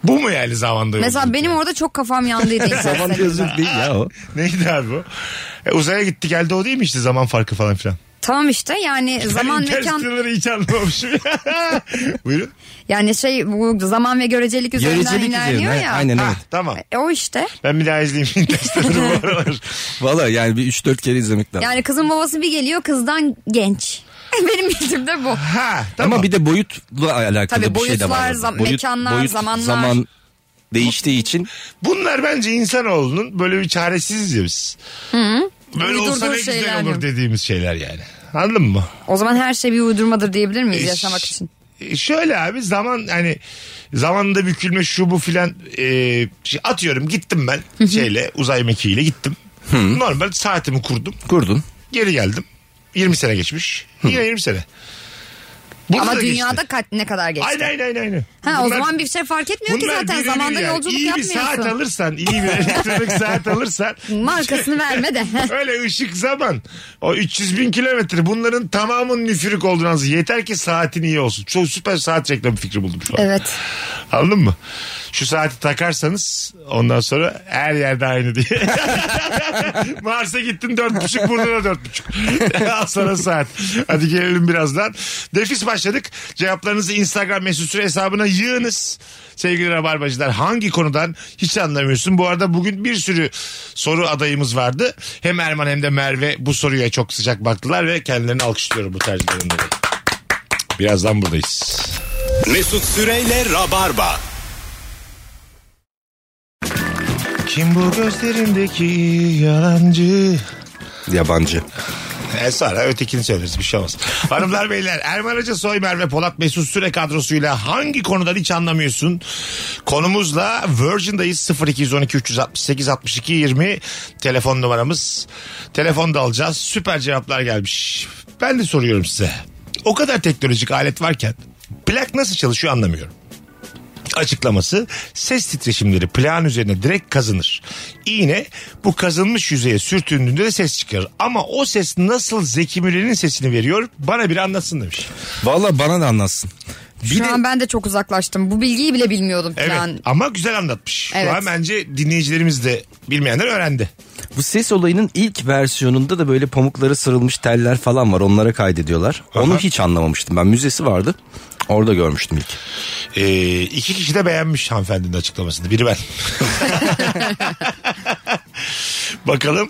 Speaker 1: Bu mu yani zamanda
Speaker 3: Mesela
Speaker 1: yolculuk?
Speaker 3: benim orada çok kafam yandıydı.
Speaker 2: zaman
Speaker 3: Interstellar'da.
Speaker 2: gözlük değil ya o.
Speaker 1: Neydi abi bu? E, uzaya gitti geldi o değil mi işte zaman farkı falan filan.
Speaker 3: tamam işte yani zaman mekan
Speaker 1: Interstellar'ı hiç anlamamışım. Buyurun.
Speaker 3: yani şey bu zaman ve görecelik üzerinden
Speaker 2: Görecelik
Speaker 3: ilerliyor
Speaker 2: üzerine.
Speaker 3: ya.
Speaker 2: Aynen
Speaker 1: Ha,
Speaker 2: evet.
Speaker 1: tamam.
Speaker 3: E, o işte.
Speaker 1: Ben bir daha izleyeyim Interstellar'ı bu aralar.
Speaker 2: Valla yani bir 3-4 kere izlemek lazım.
Speaker 3: Yani kızın babası bir geliyor kızdan genç. Benim bildiğim de bu.
Speaker 1: Ha tamam.
Speaker 2: Ama bir de boyutla alakalı
Speaker 3: Tabii
Speaker 2: bir şey de
Speaker 3: boyutlar,
Speaker 2: var.
Speaker 3: zam- mekanlar, zamanlar.
Speaker 2: Zaman değiştiği için
Speaker 1: Bunlar bence insanoğlunun böyle bir çaresiziz ya biz. Böyle
Speaker 3: Uydurduğu
Speaker 1: olsa ne güzel
Speaker 3: şeyler
Speaker 1: olur
Speaker 3: mi?
Speaker 1: dediğimiz şeyler yani. Anladın mı?
Speaker 3: O zaman her şey bir uydurmadır diyebilir miyiz yaşamak için?
Speaker 1: E, Şöyle abi zaman hani zamanında bükülme şu bu filan e, şey atıyorum gittim ben şeyle uzay mekiğiyle gittim. Normal saatimi kurdum.
Speaker 2: Kurdun.
Speaker 1: Geri geldim. 20 sene geçmiş. Yine 20 sene. Burada
Speaker 3: Ama
Speaker 1: da geçti.
Speaker 3: dünyada kaç- ne kadar geçti?
Speaker 1: Aynen aynen aynen.
Speaker 3: Ha, o
Speaker 1: Bunlar-
Speaker 3: zaman bir şey fark etmiyor ki
Speaker 1: bunlar
Speaker 3: zaten
Speaker 1: birebir
Speaker 3: zamanda
Speaker 1: yani.
Speaker 3: yolculuk
Speaker 1: iyi
Speaker 3: yapmıyorsun.
Speaker 1: bir saat alırsan, iyi bir elektronik saat alırsan.
Speaker 3: Markasını verme de.
Speaker 1: Öyle ışık zaman. O 300 bin kilometre bunların tamamının nüfurik olduğunu anlasın. Yeter ki saatin iyi olsun. Çok süper saat reklamı fikri buldum şu an.
Speaker 3: evet.
Speaker 1: Anladın mı? Şu saati takarsanız ondan sonra her yerde aynı diye. Mars'a gittin dört buçuk burada da dört buçuk. Al sana saat. Hadi gelelim birazdan. Nefis başladık. Cevaplarınızı Instagram mesut süre hesabına yığınız. Sevgili Rabarbacılar hangi konudan hiç anlamıyorsun. Bu arada bugün bir sürü soru adayımız vardı. Hem Erman hem de Merve bu soruya çok sıcak baktılar ve kendilerini alkışlıyorum bu tercihlerinden dolayı. Birazdan buradayız.
Speaker 6: Mesut Süreyle Rabarba.
Speaker 1: Kim bu gözlerindeki yalancı?
Speaker 2: Yabancı.
Speaker 1: E sonra ötekini söyleriz bir şey olmaz. Hanımlar beyler Erman Hoca Soy Merve Polat Mesut Süre kadrosuyla hangi konudan hiç anlamıyorsun? Konumuzla Virgin'dayız 0212 368 62 20 telefon numaramız. Telefon da alacağız süper cevaplar gelmiş. Ben de soruyorum size. O kadar teknolojik alet varken plak nasıl çalışıyor anlamıyorum açıklaması ses titreşimleri plan üzerine direkt kazınır. İğne bu kazınmış yüzeye sürtündüğünde de ses çıkar. Ama o ses nasıl Zeki Müren'in sesini veriyor bana bir anlatsın demiş.
Speaker 2: Valla bana da anlatsın. Bir
Speaker 3: Şu
Speaker 2: de
Speaker 3: an ben de çok uzaklaştım. Bu bilgiyi bile bilmiyordum
Speaker 1: Evet
Speaker 3: falan.
Speaker 1: ama güzel anlatmış.
Speaker 3: Evet.
Speaker 1: Şu an bence dinleyicilerimiz de bilmeyenler öğrendi.
Speaker 2: bu ses olayının ilk versiyonunda da böyle pamuklara sarılmış teller falan var. Onlara kaydediyorlar. Onu hiç anlamamıştım ben. Müzesi vardı. Orada görmüştüm ilk.
Speaker 1: Ee, iki kişi de beğenmiş hanımefendinin açıklamasını. Biri ben. Bakalım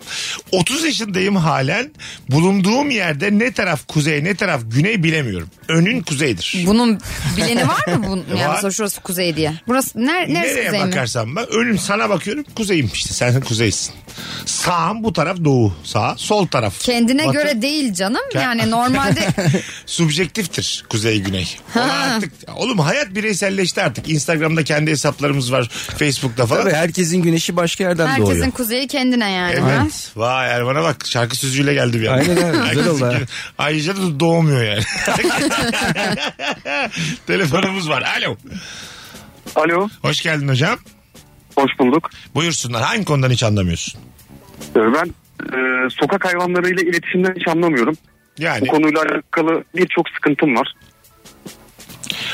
Speaker 1: 30 yaşındayım halen bulunduğum yerde ne taraf kuzey ne taraf güney bilemiyorum. Önün kuzeydir.
Speaker 3: Bunun bileni var mı? Bunun?
Speaker 1: Var.
Speaker 3: Yani mesela şurası kuzey diye. Burası ner, neresi
Speaker 1: Nereye
Speaker 3: kuzey mi?
Speaker 1: bakarsam bak önüm sana bakıyorum kuzeyim işte sen kuzeysin. Sağım bu taraf doğu sağ sol taraf.
Speaker 3: Kendine
Speaker 1: batı.
Speaker 3: göre değil canım. Yani normalde
Speaker 1: Subjektiftir kuzey güney. Ona artık, oğlum hayat bireyselleşti artık. Instagram'da kendi hesaplarımız var Facebook'ta falan.
Speaker 2: Tabii herkesin güneşi başka yerden doğuyor.
Speaker 3: herkesin kuzeyi kendine yani. ha?
Speaker 1: Evet. Vay Erman'a bak şarkı sözüyle geldi bir an.
Speaker 2: Aynen öyle. Güzel oldu ha.
Speaker 1: Ayrıca da doğmuyor yani. Telefonumuz var. Alo.
Speaker 4: Alo,
Speaker 1: Hoş geldin hocam.
Speaker 4: hoş bulduk. Ee,
Speaker 1: Buyursunlar. Hangi konudan hiç anlamıyorsun?
Speaker 4: Ben e, sokak hayvanlarıyla iletişimden hiç anlamıyorum. Bu
Speaker 1: Yani
Speaker 4: konuyla alakalı birçok sıkıntım var.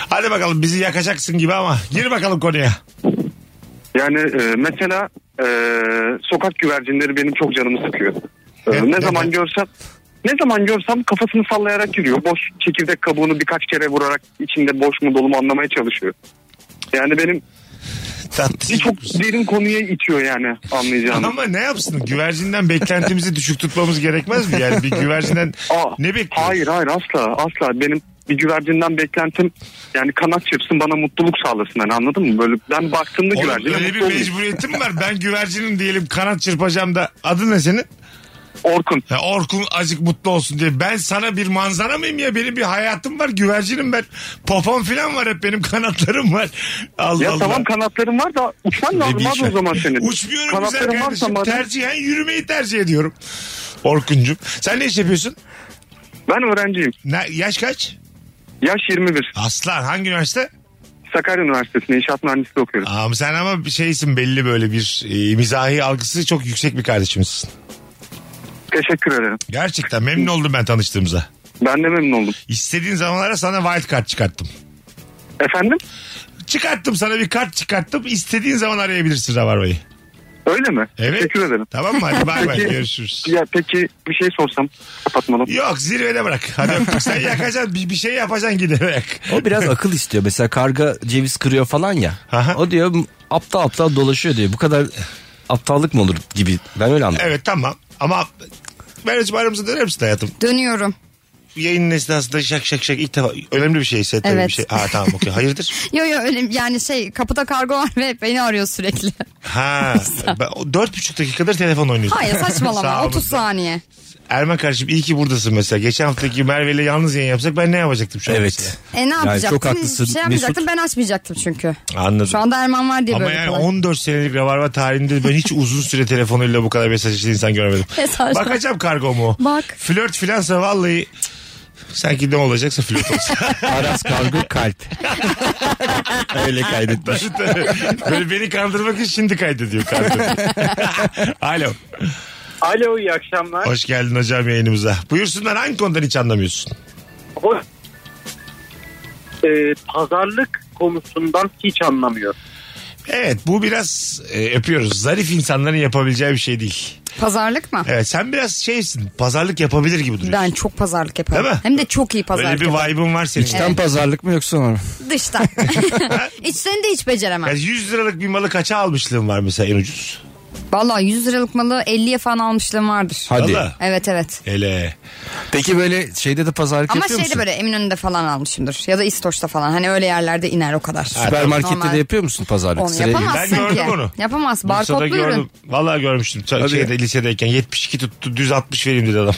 Speaker 1: hadi bakalım bizi yakacaksın gibi ama gir bakalım konuya.
Speaker 4: Yani e, mesela e, sokak güvercinleri benim çok canımı sıkıyor. E,
Speaker 1: Ne-
Speaker 4: ne,
Speaker 1: neden?
Speaker 4: zaman görsem ne zaman görsem kafasını sallayarak yürüyor. Boş çekirdek kabuğunu birkaç kere vurarak içinde boş mu dolu mu anlamaya çalışıyor. Yani benim
Speaker 1: Tatlı.
Speaker 4: birçok derin konuya itiyor yani anlayacağınız.
Speaker 1: Ama ne yapsın? Güvercinden beklentimizi düşük tutmamız gerekmez mi? Yani bir güvercinden
Speaker 4: Aa,
Speaker 1: ne bekliyorsun?
Speaker 4: Hayır hayır asla asla benim bir güvercinden beklentim yani kanat çırpsın bana mutluluk sağlasın hani anladın mı? Böyle ben baktığımda
Speaker 1: Oğlum,
Speaker 4: güvercine
Speaker 1: öyle bir
Speaker 4: mutlu olayım.
Speaker 1: mecburiyetim var. Ben güvercinim diyelim kanat çırpacağım da. Adın ne senin?
Speaker 4: Orkun.
Speaker 1: Ya Orkun azıcık mutlu olsun diye. Ben sana bir manzara mıyım ya? Benim bir hayatım var. Güvercinim ben. Popom falan var hep. Benim kanatlarım var. Allah
Speaker 4: Ya
Speaker 1: Allah.
Speaker 4: tamam kanatların var da uçman lazım abi o zaman senin.
Speaker 1: Uçmuyorum güzel
Speaker 4: kanatların varsa
Speaker 1: kardeşim.
Speaker 4: madem-
Speaker 1: Tercihen yürümeyi tercih ediyorum. Orkuncum. Sen ne iş yapıyorsun?
Speaker 4: Ben öğrenciyim.
Speaker 1: Ne- yaş kaç?
Speaker 4: Yaş 21.
Speaker 1: Aslan hangi üniversite?
Speaker 4: Sakarya Üniversitesi'nde inşaat mühendisliği okuyorum.
Speaker 1: Aa, sen ama bir şeysin belli böyle bir e, mizahi algısı çok yüksek bir kardeşimizsin.
Speaker 4: Teşekkür ederim.
Speaker 1: Gerçekten memnun oldum ben tanıştığımıza.
Speaker 4: Ben de memnun oldum.
Speaker 1: İstediğin zamanlara sana wild card çıkarttım.
Speaker 4: Efendim?
Speaker 1: Çıkarttım sana bir kart çıkarttım. İstediğin zaman arayabilirsin Rabarba'yı.
Speaker 4: Öyle mi?
Speaker 1: Evet.
Speaker 4: Teşekkür ederim.
Speaker 1: Tamam mı? Hadi bay bay
Speaker 4: Peki.
Speaker 1: görüşürüz.
Speaker 4: Ya peki bir şey sorsam kapatmadan.
Speaker 1: Yok zirvede bırak. Hadi öptük. sen yakacaksın bir, bir şey yapacaksın gider ayak.
Speaker 2: O biraz akıl istiyor. Mesela karga ceviz kırıyor falan ya.
Speaker 1: Aha.
Speaker 2: o diyor aptal aptal dolaşıyor diyor. Bu kadar aptallık mı olur gibi. Ben öyle anladım.
Speaker 1: Evet tamam ama Merveciğim aramıza döner misin hayatım?
Speaker 3: Dönüyorum.
Speaker 1: Yayının esnasında şak şak şak ilk defa önemli bir şey hissettim.
Speaker 3: Evet.
Speaker 1: Bir şey. Ha tamam okey hayırdır?
Speaker 3: Yo yo öyle yani şey kapıda kargo var ve beni arıyor sürekli.
Speaker 1: Ha ben- o dört buçuk dakikadır telefon oynuyorsun.
Speaker 3: Hayır
Speaker 1: Sağ
Speaker 3: saçmalama
Speaker 1: olun.
Speaker 3: 30 saniye.
Speaker 1: Erman kardeşim iyi ki buradasın mesela. Geçen haftaki Merve ile yalnız yayın yapsak ben ne yapacaktım şu an?
Speaker 2: Evet.
Speaker 1: mesela?
Speaker 3: E ne
Speaker 2: Yani
Speaker 3: yapacaktın?
Speaker 2: çok haklısın.
Speaker 3: Bir şey yapmayacaktın
Speaker 2: Mesut-
Speaker 3: ben açmayacaktım çünkü.
Speaker 1: Anladım.
Speaker 3: Şu anda Erman var diye
Speaker 1: Ama
Speaker 3: böyle
Speaker 1: yani
Speaker 3: kolay.
Speaker 1: 14 senelik Rabarba tarihinde ben hiç uzun süre telefonuyla bu kadar mesajlı insan görmedim.
Speaker 3: Mesaj-
Speaker 1: Bakacağım kargomu.
Speaker 3: Bak.
Speaker 1: Flört filansa vallahi sanki ne olacaksa flört olsun.
Speaker 2: Aras kargo kalp. Öyle kaydetmiş.
Speaker 1: Böyle beni kandırmak için şimdi kaydediyor kargo. Alo.
Speaker 7: Alo iyi akşamlar.
Speaker 1: Hoş geldin hocam yayınımıza. Buyursunlar hangi konudan hiç anlamıyorsun?
Speaker 7: Hoş. Ee, pazarlık konusundan hiç anlamıyor.
Speaker 1: Evet bu biraz e, öpüyoruz. Zarif insanların yapabileceği bir şey değil.
Speaker 3: Pazarlık mı?
Speaker 1: Evet sen biraz şeysin pazarlık yapabilir gibi duruyorsun.
Speaker 3: Ben çok pazarlık yaparım.
Speaker 1: Değil mi?
Speaker 3: Hem de çok iyi
Speaker 1: Öyle
Speaker 3: pazarlık
Speaker 1: bir
Speaker 3: yaparım.
Speaker 1: vibe'ın var senin.
Speaker 2: İçten pazarlık mı yoksa mı?
Speaker 3: Dıştan. İçten de hiç beceremem.
Speaker 1: Yani 100 liralık bir malı kaça almışlığın var mesela en ucuz?
Speaker 3: Vallahi 100 liralık malı 50'ye falan almışlığım vardır.
Speaker 2: Hadi.
Speaker 1: Valla.
Speaker 3: Evet evet.
Speaker 1: Hele.
Speaker 2: Peki böyle şeyde de pazarlık
Speaker 3: Ama
Speaker 2: yapıyor
Speaker 3: şeyde
Speaker 2: musun?
Speaker 3: böyle Eminönü'nde falan almışımdır. Ya da İstoç'ta falan. Hani öyle yerlerde iner o kadar.
Speaker 2: Süpermarkette
Speaker 3: Normal.
Speaker 2: de yapıyor musun pazarlık?
Speaker 3: Onu
Speaker 2: Sıraya girip-
Speaker 3: yapamazsın
Speaker 1: Ben
Speaker 3: ki.
Speaker 1: gördüm onu.
Speaker 3: Yapamaz.
Speaker 1: Bursa'da
Speaker 3: Barkodlu
Speaker 1: gördüm.
Speaker 3: ürün.
Speaker 1: Vallahi görmüştüm. Ça- Şeyde, lisedeyken 72 tuttu düz 60 vereyim dedi adam.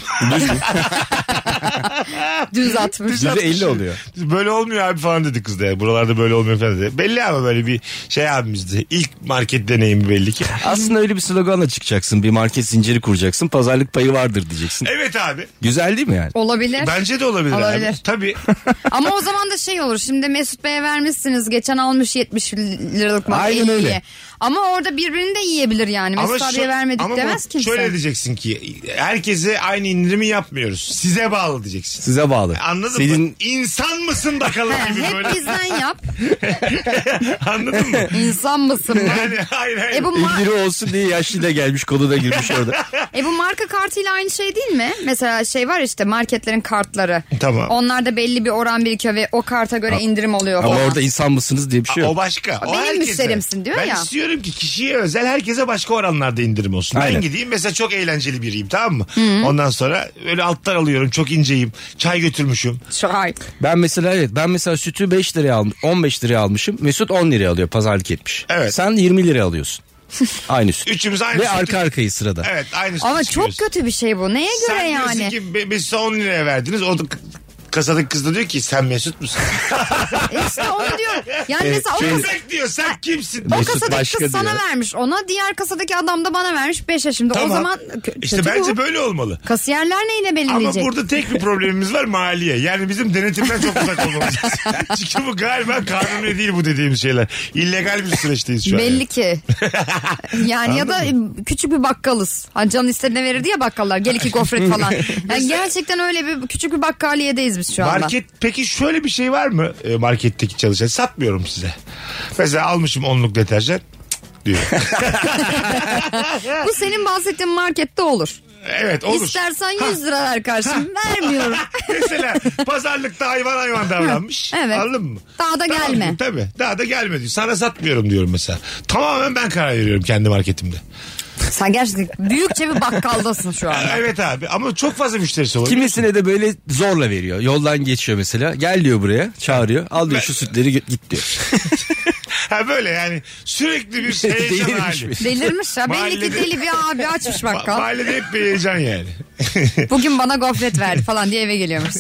Speaker 3: Düz atmış.
Speaker 2: Yüzde elli oluyor.
Speaker 1: böyle olmuyor abi falan dedi kız da. ya. Buralarda böyle olmuyor falan dedi. Belli ama böyle bir şey abimizdi. İlk market deneyimi belli ki.
Speaker 2: Aslında öyle bir sloganla çıkacaksın. Bir market zinciri kuracaksın. Pazarlık payı vardır diyeceksin.
Speaker 1: Evet abi.
Speaker 2: Güzel değil mi yani?
Speaker 3: Olabilir.
Speaker 1: Bence de olabilir, abi.
Speaker 3: Olabilir.
Speaker 1: Tabii.
Speaker 3: Ama o zaman da şey olur. Şimdi Mesut Bey'e vermişsiniz. Geçen almış 70 liralık mal.
Speaker 2: Aynen
Speaker 3: 50'ye.
Speaker 2: öyle.
Speaker 3: Ama orada birbirini de yiyebilir yani. Mesut
Speaker 1: şu-
Speaker 3: abiye vermedik
Speaker 1: ama
Speaker 3: demez
Speaker 1: bu-
Speaker 3: kimse.
Speaker 1: Şöyle diyeceksin ki herkese aynı indirimi yapmıyoruz. Size bağlı diyeceksin.
Speaker 2: Size bağlı.
Speaker 1: Anladın mı?
Speaker 2: Senin
Speaker 1: İnsan mısın bakalım
Speaker 3: He,
Speaker 1: gibi
Speaker 3: hep
Speaker 1: böyle.
Speaker 3: bizden yap.
Speaker 1: Anladın mı?
Speaker 3: İnsan mısın? bu?
Speaker 1: Yani hayır hayır.
Speaker 3: e, bu ma-
Speaker 2: İlgili olsun diye yaşlı da gelmiş konu da girmiş orada.
Speaker 3: e bu marka kartıyla aynı şey değil mi? Mesela şey var işte marketlerin kartları.
Speaker 1: Tamam.
Speaker 3: Onlarda belli bir oran birikiyor ve o karta göre indirim oluyor
Speaker 2: Ama
Speaker 3: falan.
Speaker 2: orada insan mısınız diye bir şey
Speaker 1: O
Speaker 2: yok.
Speaker 1: başka. O
Speaker 3: Benim
Speaker 1: herkese.
Speaker 3: müşterimsin diyor
Speaker 1: ben
Speaker 3: ya.
Speaker 1: istiyorum ki kişiye özel herkese başka oranlarda indirim olsun. Ben
Speaker 2: Aynen.
Speaker 1: gideyim mesela çok eğlenceli biriyim tamam mı? Ondan sonra öyle alttan alıyorum çok inceyim. Çay götürmüşüm.
Speaker 3: Şahit.
Speaker 2: Ben mesela evet ben mesela sütü 5 liraya almış 15 liraya almışım. Mesut 10 liraya alıyor pazarlık etmiş.
Speaker 1: Evet.
Speaker 2: Sen 20 liraya alıyorsun. Aynı süt.
Speaker 1: Üçümüz aynı
Speaker 2: Ve
Speaker 1: sütü-
Speaker 2: arka arkayı sırada.
Speaker 1: Evet aynı
Speaker 3: Ama
Speaker 1: sütü
Speaker 3: çok
Speaker 1: içiyoruz.
Speaker 3: kötü bir şey bu. Neye göre
Speaker 1: Sen
Speaker 3: yani?
Speaker 1: diyorsun ki "Be- biz size 10 liraya verdiniz. O da k- kasadaki kız da diyor ki sen Mesut musun?
Speaker 3: E işte onu diyorum. Yani
Speaker 2: Evet,
Speaker 3: mesela o
Speaker 2: şey-
Speaker 3: kasa-
Speaker 1: Bırak diyor sen kimsin?
Speaker 3: o
Speaker 2: Mesut
Speaker 3: kasadaki
Speaker 2: başka
Speaker 3: kız sana
Speaker 2: diyor.
Speaker 3: vermiş ona diğer kasadaki adam da bana vermiş 5 yaşında. O
Speaker 1: Tamam.
Speaker 3: zaman kö-
Speaker 1: İşte
Speaker 3: kötü
Speaker 1: bence
Speaker 3: bu.
Speaker 1: böyle olmalı.
Speaker 3: Kasiyerler neyle
Speaker 1: Ama
Speaker 3: belirleyecek?
Speaker 1: burada tek bir problemimiz var maliye. Yani bizim denetimden çok uzak olmamız lazım. Çünkü bu galiba kanuni değil bu dediğimiz şeyler. İllegal bir süreçteyiz şu an.
Speaker 3: Belli ki. yani ya da e, küçük bir bakkalız. Hani canın istediğine verirdi ya bakkallar. Gel iki gofret falan. Yani gerçekten öyle bir küçük bir bakkaliyedeyiz biz şu anda.
Speaker 1: Market peki şöyle bir şey var mı e, marketteki çalışan? Satmıyorum size. Mesela almışım onluk deterjan Cık, diyor.
Speaker 3: Bu senin bahsettiğin markette olur.
Speaker 1: evet olur.
Speaker 3: İstersen 100 lira ver karşım. Vermiyorum.
Speaker 1: Mesela pazarlıkta hayvan hayvan davranmış.
Speaker 3: Evet.
Speaker 1: Anladın mı?
Speaker 3: Daha da
Speaker 1: Tamam,
Speaker 3: gelme.
Speaker 1: Tabii. Daha da gelme diyor. Sana satmıyorum diyorum mesela. Tamamen ben karar veriyorum kendi marketimde.
Speaker 3: Sen gerçekten büyükçe bir bakkaldasın şu anda.
Speaker 1: Evet abi ama çok fazla müşterisi olur.
Speaker 2: Kimisine de böyle zorla veriyor. Yoldan geçiyor mesela. Gel diyor buraya. Çağırıyor. Al diyor şu sütleri git- git diyor.
Speaker 1: Ha böyle yani sürekli bir heyecan
Speaker 2: Delirmiş
Speaker 1: hali.
Speaker 2: bir. şey.
Speaker 3: Delirmiş ya. Belli ki
Speaker 1: Mahallede-
Speaker 3: deli bir abi açmış
Speaker 1: Ma-
Speaker 3: bakkal.
Speaker 1: Mahallede hep bir heyecan yani.
Speaker 3: Bugün bana gofret verdi falan diye eve geliyormuş.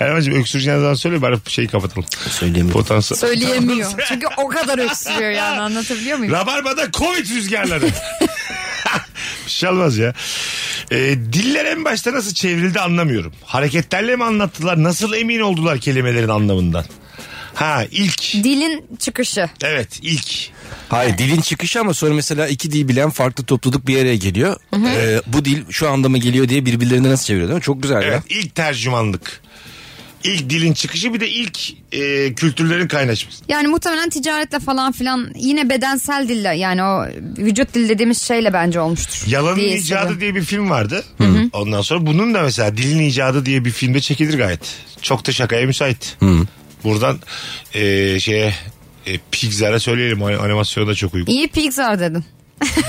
Speaker 1: Erman'cığım öksüreceğin zaman söyle bari şeyi kapatalım.
Speaker 2: Söyleyemiyorum.
Speaker 1: Potansiyel.
Speaker 3: Söyleyemiyor. Çünkü o kadar öksürüyor yani anlatabiliyor muyum?
Speaker 1: Rabarba'da Covid rüzgarları. bir şey olmaz ya. Ee, diller en başta nasıl çevrildi anlamıyorum. Hareketlerle mi anlattılar? Nasıl emin oldular kelimelerin anlamından? Ha ilk.
Speaker 3: Dilin çıkışı.
Speaker 1: Evet ilk.
Speaker 2: Hayır dilin çıkışı ama sonra mesela iki dil bilen farklı topluluk bir araya geliyor. Ee, bu dil şu anda mı geliyor diye birbirlerine nasıl çeviriyor değil mi? Çok güzel
Speaker 1: Evet
Speaker 2: ya.
Speaker 1: ilk tercümanlık. İlk dilin çıkışı bir de ilk e, kültürlerin kaynaşması.
Speaker 3: Yani muhtemelen ticaretle falan filan yine bedensel dille yani o vücut dil dediğimiz şeyle bence olmuştur.
Speaker 1: Yalanın
Speaker 3: Diye
Speaker 1: icadı
Speaker 3: hissediyorum.
Speaker 1: diye bir film vardı. Ondan sonra bunun da mesela dilin icadı diye bir filmde çekilir gayet. Çok da şakaya müsait. Buradan e, şeye e, Pixar'a söyleyelim o animasyona da çok uygun.
Speaker 3: İyi Pixar dedin.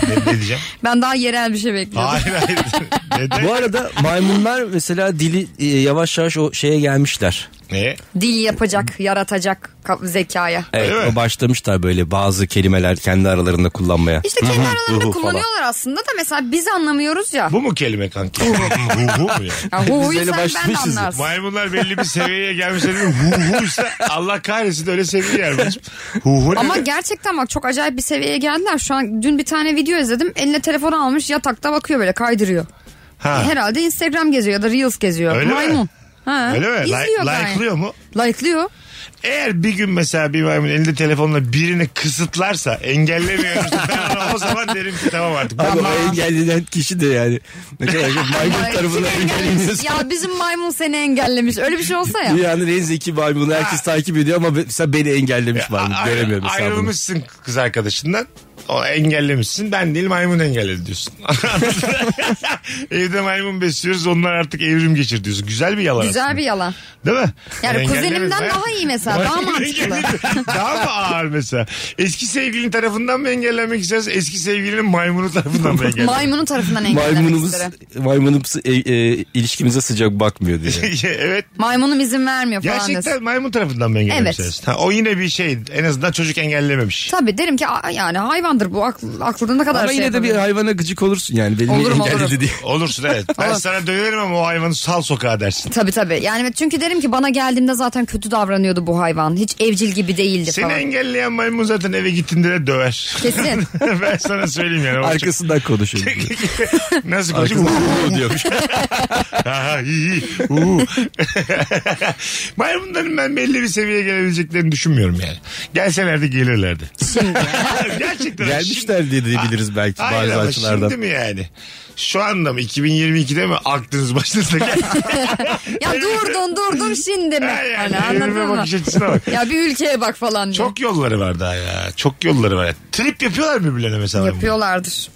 Speaker 1: ne, ne diyeceğim?
Speaker 3: Ben daha yerel bir şey bekliyordum.
Speaker 1: hayır hayır. Neden?
Speaker 2: Bu arada maymunlar mesela dili e, yavaş yavaş o şeye gelmişler.
Speaker 1: Ne?
Speaker 3: Dil yapacak, yaratacak ka- zekaya.
Speaker 1: Öyle
Speaker 2: Evet,
Speaker 1: mi?
Speaker 2: o başlamışlar böyle bazı kelimeler kendi aralarında kullanmaya.
Speaker 3: İşte kendi aralarında
Speaker 2: uhu falan.
Speaker 3: kullanıyorlar aslında da mesela biz anlamıyoruz ya.
Speaker 1: Bu mu kelime kanka? hu hu mu yani?
Speaker 3: ya hu
Speaker 2: Biz
Speaker 3: huyu
Speaker 2: öyle
Speaker 3: sen ben de
Speaker 2: başlamışız.
Speaker 3: anlarsın.
Speaker 1: Maymunlar belli bir seviyeye gelmişler. Hu huysa Allah kahretsin öyle seviye yer bacım. Hu hu ne?
Speaker 3: Ama gerçekten bak çok acayip bir seviyeye geldiler. Şu an dün bir tane video izledim. Eline telefonu almış yatakta bakıyor böyle kaydırıyor.
Speaker 1: ha.
Speaker 3: E, Herhalde Instagram geziyor ya da Reels geziyor.
Speaker 1: Öyle mi?
Speaker 3: Maymun. Ha.
Speaker 1: Öyle mi?
Speaker 3: İzliyor
Speaker 1: Like,
Speaker 3: gayet.
Speaker 1: like'lıyor mu?
Speaker 3: Like'lıyor.
Speaker 1: Eğer bir gün mesela bir maymun elinde telefonla birini kısıtlarsa engellemiyoruz. ben ona o zaman derim ki tamam artık.
Speaker 2: Abi o engellenen kişi de yani ne kadar çok maymun
Speaker 3: Ay,
Speaker 2: tarafından
Speaker 3: kim engellemiş?
Speaker 2: engelleniyorsun.
Speaker 3: Ya bizim maymun seni engellemiş. Öyle bir şey olsa ya.
Speaker 2: Dünyanın en zeki maymunu herkes takip ediyor ama be- mesela beni engellemiş
Speaker 1: A-
Speaker 2: maymunu.
Speaker 1: ayrı-
Speaker 2: Hani Göremiyorum mesela bunu.
Speaker 1: Ayrılmışsın kız arkadaşından. O engellemişsin. Ben değil maymun engelledi diyorsun. Evde maymun besliyoruz. Onlar artık evrim geçir diyorsun. Güzel bir yalan.
Speaker 3: Güzel
Speaker 1: aslında.
Speaker 3: bir yalan.
Speaker 1: Değil mi?
Speaker 3: Yani
Speaker 1: Engellemez
Speaker 3: kuzenimden
Speaker 1: ha?
Speaker 3: daha iyi mesela. Daha
Speaker 1: Maymun
Speaker 3: mantıklı.
Speaker 1: engelledi. daha mı ağır mesela? Eski sevgilin tarafından mı engellenmek istersin? Eski sevgilinin maymunu tarafından mı engellenmek?
Speaker 3: Maymunun tarafından engellemek
Speaker 2: Maymunumuz,
Speaker 3: isterim.
Speaker 2: maymunumuz e, e, ilişkimize sıcak bakmıyor diye.
Speaker 1: evet.
Speaker 3: Maymunum izin vermiyor falan
Speaker 1: Gerçekten
Speaker 3: desin.
Speaker 1: maymun tarafından mı engellemek
Speaker 3: Evet.
Speaker 1: istersin? Ha, o yine bir şey. En azından çocuk engellememiş.
Speaker 3: Tabii derim ki "Aa, yani hayvandır bu akl- aklında ne kadar
Speaker 2: Ama
Speaker 3: şey
Speaker 2: yine de bir
Speaker 3: yapabilir?"
Speaker 2: hayvana gıcık olursun yani. Beni
Speaker 3: Olurum,
Speaker 2: engelledi
Speaker 3: olurum.
Speaker 2: diye.
Speaker 1: Olursun evet. Ben sana döverim ama o hayvanı sal sokağa dersin.
Speaker 3: Tabii tabii. Yani çünkü derim ki bana geldiğimde zaten kötü davranıyordu bu hayvan. Hiç evcil gibi değildi
Speaker 1: Seni
Speaker 3: falan.
Speaker 1: engelleyen maymun zaten eve gittiğinde de döver.
Speaker 3: Kesin.
Speaker 1: ben sana söyleyeyim yani. O
Speaker 2: Arkasından konuşuyor.
Speaker 1: çok- Nasıl konuşuyor?
Speaker 2: Arkasından "Hu hu" diyormuş.
Speaker 1: Aha, iyi, iyi. Uhu. Maymunların ben belli bir seviyeye gelebileceklerini düşünmüyorum yani. Gelselerdi gelirlerdi.
Speaker 3: Şimdi.
Speaker 1: Gerçekten.
Speaker 2: Gelmişler diye diyebiliriz belki
Speaker 1: Hayır
Speaker 2: bazı
Speaker 1: ama
Speaker 2: açılardan.
Speaker 1: Şimdi mi yani? Şu anda mı? 2022'de mi aklınız başınıza geldi?
Speaker 3: ya durdun durdun şimdi mi?
Speaker 1: Ha yani,
Speaker 3: Hani
Speaker 1: evime
Speaker 3: anladın mı?
Speaker 1: bakış açısına bak.
Speaker 3: Ya bir ülkeye bak falan diye.
Speaker 1: Çok yolları var daha ya. Çok yolları var. Trip yapıyorlar mı birbirlerine mesela?
Speaker 3: yapıyorlardır.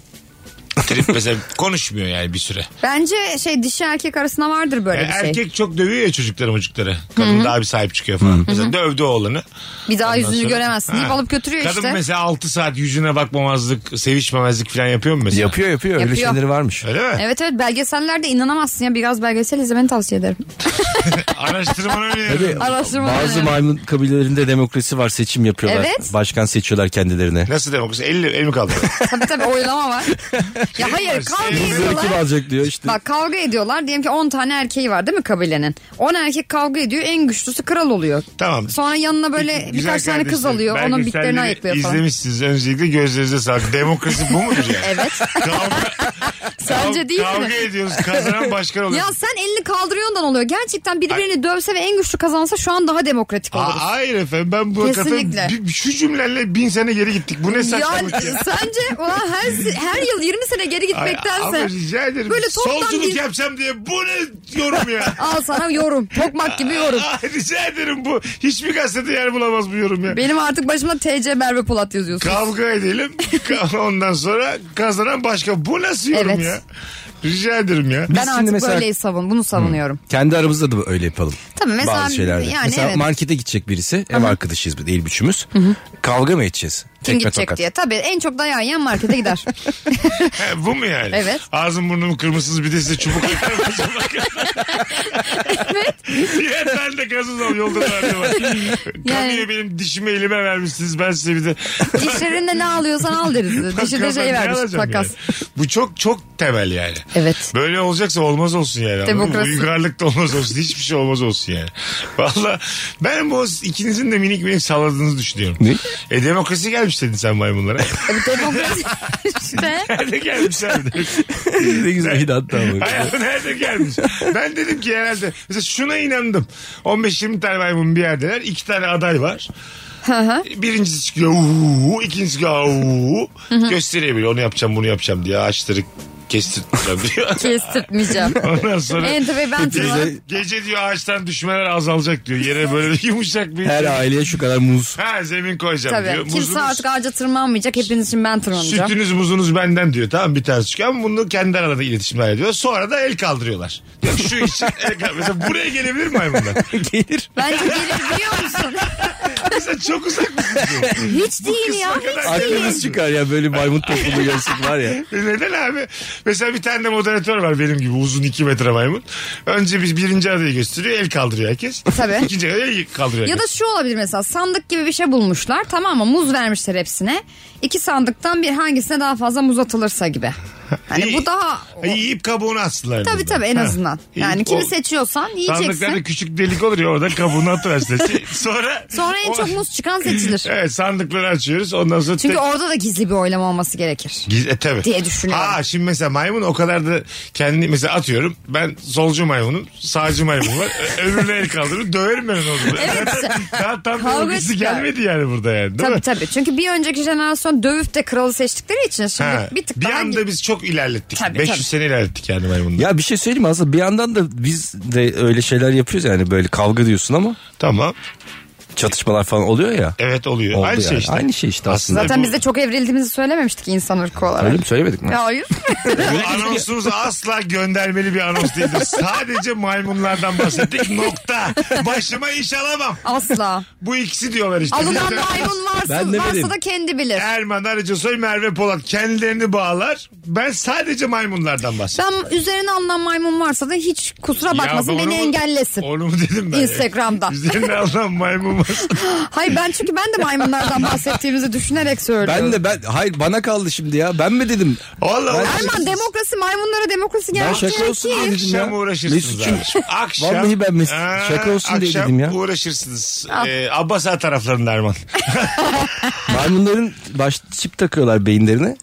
Speaker 1: Trip mesela konuşmuyor yani bir süre.
Speaker 3: Bence şey dişi erkek arasında vardır böyle
Speaker 1: Yani
Speaker 3: bir şey.
Speaker 1: E, erkek çok dövüyor ya çocukları çocukları. Kadın daha bir sahip çıkıyor falan. Mesela dövdü oğlanı.
Speaker 3: Bir daha yüzünü
Speaker 1: sonra-
Speaker 3: göremezsin deyip
Speaker 1: Ha.
Speaker 3: alıp götürüyor
Speaker 1: Kadın
Speaker 3: işte.
Speaker 1: mesela 6 saat yüzüne bakmamazlık, sevişmemezlik falan yapıyor mu mesela?
Speaker 2: Yapıyor yapıyor öyle
Speaker 3: Yapıyor.
Speaker 2: şeyleri varmış.
Speaker 1: Öyle mi?
Speaker 3: Evet evet belgesellerde inanamazsın ya biraz belgesel izlemeni tavsiye ederim.
Speaker 1: Araştırmanı öneriyorum.
Speaker 2: Tabii
Speaker 3: Araştırma
Speaker 2: bazı
Speaker 3: önemli.
Speaker 2: maymun kabilelerinde demokrasi var seçim yapıyorlar.
Speaker 3: Evet.
Speaker 2: Başkan seçiyorlar kendilerine.
Speaker 1: Nasıl demokrasi? El, el mi kaldı?
Speaker 3: tabii tabii oylama var. ya hayır
Speaker 1: Sevmez,
Speaker 3: kavga
Speaker 1: sevmez.
Speaker 2: Kızları kim
Speaker 3: ediyorlar.
Speaker 2: alacak diyor işte.
Speaker 3: Bak kavga ediyorlar. Diyelim ki 10 tane erkeği var değil mi kabilenin? 10 erkek kavga ediyor. En güçlüsü kral oluyor.
Speaker 1: tamam.
Speaker 3: Sonra yanına böyle
Speaker 1: Güzel
Speaker 3: birkaç tane kız
Speaker 1: kardeşlerim,
Speaker 3: alıyor. Onun bitlerini
Speaker 1: belgeselleri
Speaker 3: ayıklıyor falan.
Speaker 1: İzlemişsiniz öncelikle gözlerinize sağlık. Demokrasi bu mudur yani?
Speaker 3: Evet.
Speaker 1: Kavga,
Speaker 3: Sence değil
Speaker 1: kavga
Speaker 3: mi?
Speaker 1: ediyoruz kazanan başkan oluyor.
Speaker 3: Ya sen elini kaldırıyordan oluyor. Gerçekten birbirini dövse ve en güçlü kazansa şu an daha demokratik
Speaker 1: Aa,
Speaker 3: oluruz.
Speaker 1: hayır efendim ben bu katılıyorum.
Speaker 3: Kesinlikle.
Speaker 1: Bir- Şu cümlelerle bin sene geri gittik. Bu ne
Speaker 3: ya
Speaker 1: saçmalık ya?
Speaker 3: sence ulan her, her yıl 20 sene geri
Speaker 1: Ay,
Speaker 3: gitmektense
Speaker 1: Ama rica ederim.
Speaker 3: Böyle toptan
Speaker 1: Solculuk
Speaker 3: bir-
Speaker 1: yapacağım diye bu ne yorum ya?
Speaker 3: al sana yorum. Tokmak gibi yorum.
Speaker 1: Ay, rica ederim bu. Hiçbir gazete yer bulamaz bu yorum ya.
Speaker 3: Benim artık başıma TC Merve Polat yazıyorsun.
Speaker 1: Kavga edelim. Ka- Ondan sonra kazanan başka. Bu nasıl yorum
Speaker 3: Evet.
Speaker 1: ya? Rica ederim ya.
Speaker 3: ben
Speaker 2: şimdi
Speaker 3: artık
Speaker 2: mesela-
Speaker 3: böyleyi savun. Bunu savunuyorum.
Speaker 2: Kendi aramızda da öyle yapalım.
Speaker 3: Tabii mesela-
Speaker 2: Bazı şeylerde.
Speaker 3: yani
Speaker 2: mesela
Speaker 3: evet.
Speaker 2: markete gidecek birisi. Ev arkadaşıyız biz değil üçümüz. Kavga mı edeceğiz?
Speaker 3: Kim
Speaker 2: Tekme
Speaker 3: gidecek
Speaker 2: tokat.
Speaker 3: diye. Tabii en çok dayağı yiyen markete gider.
Speaker 1: Ha, E, bu mu yani?
Speaker 3: Evet.
Speaker 1: Ağzım burnum kırmızısız bir de size çubuk atar mısın? evet. Ya ben de gazozam yolda verdi var. Kamuya benim dişime elime vermişsiniz ben size bir de.
Speaker 3: Dişlerinde ne alıyorsan al deriz. Dişinde
Speaker 1: Bakalım ben
Speaker 3: şey
Speaker 1: ne
Speaker 3: vermiş
Speaker 1: alacağım
Speaker 3: takas.
Speaker 1: yani? Bu çok çok temel yani.
Speaker 3: Evet.
Speaker 1: Böyle olacaksa olmaz olsun yani. anladın mı?
Speaker 3: Demokrasi.
Speaker 1: Uygarlık da olmaz olsun. Hiçbir şey olmaz olsun yani. Valla ben bu ikinizin de minik minik salladığınızı düşünüyorum.
Speaker 2: Ne?
Speaker 1: E demokrasi gelmiş dedin sen maymunlara.
Speaker 3: Tabii demokrasi işte.
Speaker 1: Nerede gelmiş abi?
Speaker 2: ne güzel hidatta ama.
Speaker 1: Hayatı nerede gelmiş? Ben dedim ki herhalde mesela şuna inandım. 15-20 tane maymun bir yerdeler. iki tane aday var. Birincisi çıkıyor uuu, ikincisi çıkıyor uuu. Gösteriyor bile onu yapacağım bunu yapacağım diye ağaçları kestirteceğim diyor.
Speaker 3: Kestirtmeyeceğim.
Speaker 1: Ondan sonra
Speaker 3: Ente ve ben
Speaker 1: gece, gece diyor ağaçtan düşmeler azalacak diyor. Yere böyle bir yumuşak bir şey.
Speaker 2: Her aileye şu kadar muz.
Speaker 1: ha, zemin koyacağım
Speaker 3: Tabii.
Speaker 1: diyor.
Speaker 3: Kimse
Speaker 1: Muzunuz-
Speaker 3: artık ağaca tırmanmayacak. Hepiniz için ben tırmanacağım.
Speaker 1: Sütünüz muzunuz benden diyor. Tamam bir tanesi çıkıyor ama bunu kendi arada iletişimler ediyor. Sonra da el kaldırıyorlar. Diyor ki, şu için el kal- Mesela buraya gelebilir mi maymunlar?
Speaker 2: Gelir.
Speaker 3: Bence gelir biliyor musun?
Speaker 1: Sen çok uzak mısın?
Speaker 3: Hiç değil ya.
Speaker 1: kısma kadar E
Speaker 3: Hiç değil.
Speaker 2: Aklınız çıkar ya böyle maymun topluluğu görsün var ya.
Speaker 1: Neden abi? Mesela bir tane de moderatör var benim gibi uzun 2 metre maymun. Önce biz birinci adayı gösteriyor el kaldırıyor herkes.
Speaker 3: E, Tabii.
Speaker 1: İkinci adayı el kaldırıyor
Speaker 3: Ya da
Speaker 1: herkes.
Speaker 3: şu olabilir mesela sandık gibi bir şey bulmuşlar tamam mı muz vermişler hepsine. İki sandıktan bir hangisine daha fazla muz atılırsa gibi. Hani
Speaker 1: İyi.
Speaker 3: bu daha...
Speaker 1: Ha, Yiyip kabuğunu atsınlar. en
Speaker 3: Tabii
Speaker 1: azından.
Speaker 3: tabii en
Speaker 1: Ha.
Speaker 3: azından.
Speaker 1: Yiyip
Speaker 3: Yani kimi
Speaker 1: o-
Speaker 3: seçiyorsan
Speaker 1: Sandıklarda
Speaker 3: yiyeceksin.
Speaker 1: küçük delik olur ya oradan kabuğunu atıversin. Sonra
Speaker 3: Sonra en
Speaker 1: o-
Speaker 3: çok muz çıkan seçilir.
Speaker 1: Evet sandıkları açıyoruz ondan sonra
Speaker 3: Çünkü
Speaker 1: tek-
Speaker 3: orada da gizli bir oylama olması gerekir.
Speaker 1: Giz- e, tabii.
Speaker 3: diye düşünüyorum.
Speaker 1: Ha şimdi mesela maymun o kadar da kendi mesela atıyorum ben solcu maymunum sağcı maymun var Ö- öbürüne el kaldırır döverim ben onu. o zaman.
Speaker 3: Evet.
Speaker 1: Daha tam bir
Speaker 3: Kavga
Speaker 1: ortası
Speaker 3: çıkar.
Speaker 1: gelmedi yani burada yani değil mi?
Speaker 3: Tabii tabii. Çünkü bir önceki jenerasyon dövüp de kralı seçtikleri için şimdi
Speaker 1: Ha,
Speaker 3: bir tık
Speaker 1: bir
Speaker 3: daha...
Speaker 1: anda biz çok ilerlettik.
Speaker 3: Tabii,
Speaker 1: 500
Speaker 3: tabii.
Speaker 1: sene ilerlettik yani maymunda.
Speaker 2: Ya bir şey söyleyeyim mi? aslında bir yandan da biz de öyle şeyler yapıyoruz yani böyle kavga diyorsun ama
Speaker 1: Tamam.
Speaker 2: çatışmalar falan oluyor ya.
Speaker 1: Evet oluyor.
Speaker 2: Oldu
Speaker 1: Aynı şey
Speaker 2: yani.
Speaker 1: işte.
Speaker 2: Aynı şey işte aslında.
Speaker 3: Zaten
Speaker 1: bu-
Speaker 3: biz de çok evrildiğimizi söylememiştik insan ırkı olarak.
Speaker 2: Öyle mi söylemedik mi?
Speaker 3: Ya Hayır.
Speaker 1: Bu anonsumuz asla göndermeli bir anons değildir. Sadece maymunlardan bahsettik. Nokta. Başıma iş alamam.
Speaker 3: Asla.
Speaker 1: Bu ikisi diyorlar işte.
Speaker 3: Alınan maymun
Speaker 2: Ben
Speaker 3: varsa,
Speaker 2: de
Speaker 3: varsa
Speaker 2: bileyim.
Speaker 3: da kendi bilir.
Speaker 1: Erman Arıcasoy, Merve Polat kendilerini bağlar. Ben sadece maymunlardan bahsediyorum.
Speaker 3: Ben üzerine alınan maymun varsa da hiç kusura bakmasın
Speaker 1: Ya ben
Speaker 3: beni
Speaker 1: onu mu-
Speaker 3: engellesin.
Speaker 1: Onu mu dedim ben?
Speaker 3: Instagram'da.
Speaker 1: Üzerine alınan maymun var.
Speaker 3: Hayır ben çünkü ben de maymunlardan bahsettiğimizi düşünerek söylüyorum.
Speaker 2: Ben de ben hayır bana kaldı şimdi ya. Ben mi dedim?
Speaker 1: Allah
Speaker 3: Erman demokrasi maymunlara demokrasi
Speaker 2: Ben
Speaker 3: gerçek.
Speaker 2: şaka olsun diye dedim ya.
Speaker 1: Akşam uğraşırsınız
Speaker 2: Mesut'cum,
Speaker 1: abi. Akşam.
Speaker 2: Vallahi ben Mesut-
Speaker 1: Aa,
Speaker 2: şaka olsun diye
Speaker 1: akşam
Speaker 2: dedim ya.
Speaker 1: uğraşırsınız. Ee, Abbas Ağa taraflarında Erman.
Speaker 2: Maymunların baş çip takıyorlar beyinlerine.